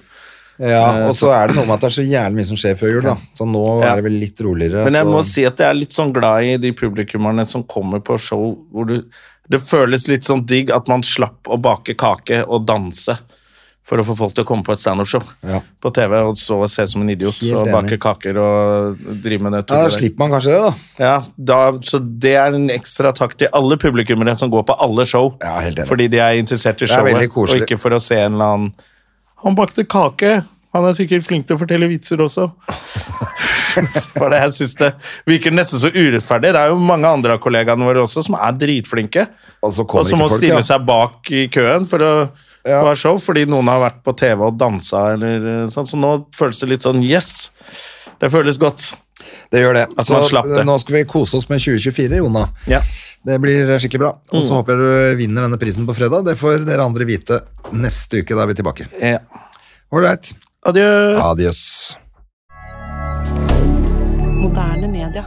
Speaker 1: Ja, og så er det noe med at det er så jævlig mye som skjer før jul, da. Så nå
Speaker 2: Eh, Ja.
Speaker 1: er det vel litt roligere.
Speaker 2: Men jeg
Speaker 1: så-
Speaker 2: må si at jeg er litt sånn glad i de publikummerne som kommer på show hvor du Det føles litt sånn digg at man slapp å bake kake og danse for å få folk til å komme på et standup-show
Speaker 1: Ja.
Speaker 2: på TV og så se ut som en idiot
Speaker 1: Helt
Speaker 2: og bake
Speaker 1: enig.
Speaker 2: kaker og drive med det.
Speaker 1: Ja, da
Speaker 2: tullet der.
Speaker 1: slipper man kanskje det, da.
Speaker 2: Ja, da, så det er en ekstra takk til alle publikummere som går på alle show.
Speaker 1: Ja, helt enig.
Speaker 2: Fordi de er interessert i
Speaker 1: er
Speaker 2: showet,
Speaker 1: veldig
Speaker 2: og
Speaker 1: koselig.
Speaker 2: ikke for å se en eller annen Han bakte kake! Han er sikkert flink til å fortelle vitser også. For det, jeg synes det virker nesten så urettferdig. Det er jo mange andre av kollegaene våre også som er dritflinke,
Speaker 1: Og så kommer
Speaker 2: og som
Speaker 1: ikke
Speaker 2: må
Speaker 1: folk,
Speaker 2: stille
Speaker 1: ja.
Speaker 2: seg bak i køen for å
Speaker 1: Ja.
Speaker 2: få ha show, fordi noen har vært på TV og dansa eller eh, sånn. Så nå føles det litt sånn yes! Det føles godt.
Speaker 1: Det gjør det.
Speaker 2: Altså, man slapp det.
Speaker 1: nå skal vi kose oss med 2024, Jona.
Speaker 2: Ja. Mm.
Speaker 1: Det blir skikkelig bra. Og så håper jeg du vinner denne prisen på fredag. Det får dere andre vite neste uke. Da er vi tilbake.
Speaker 2: Ja.
Speaker 1: Ålreit.
Speaker 2: Adjø.
Speaker 1: Adios.
Speaker 3: Moderne media.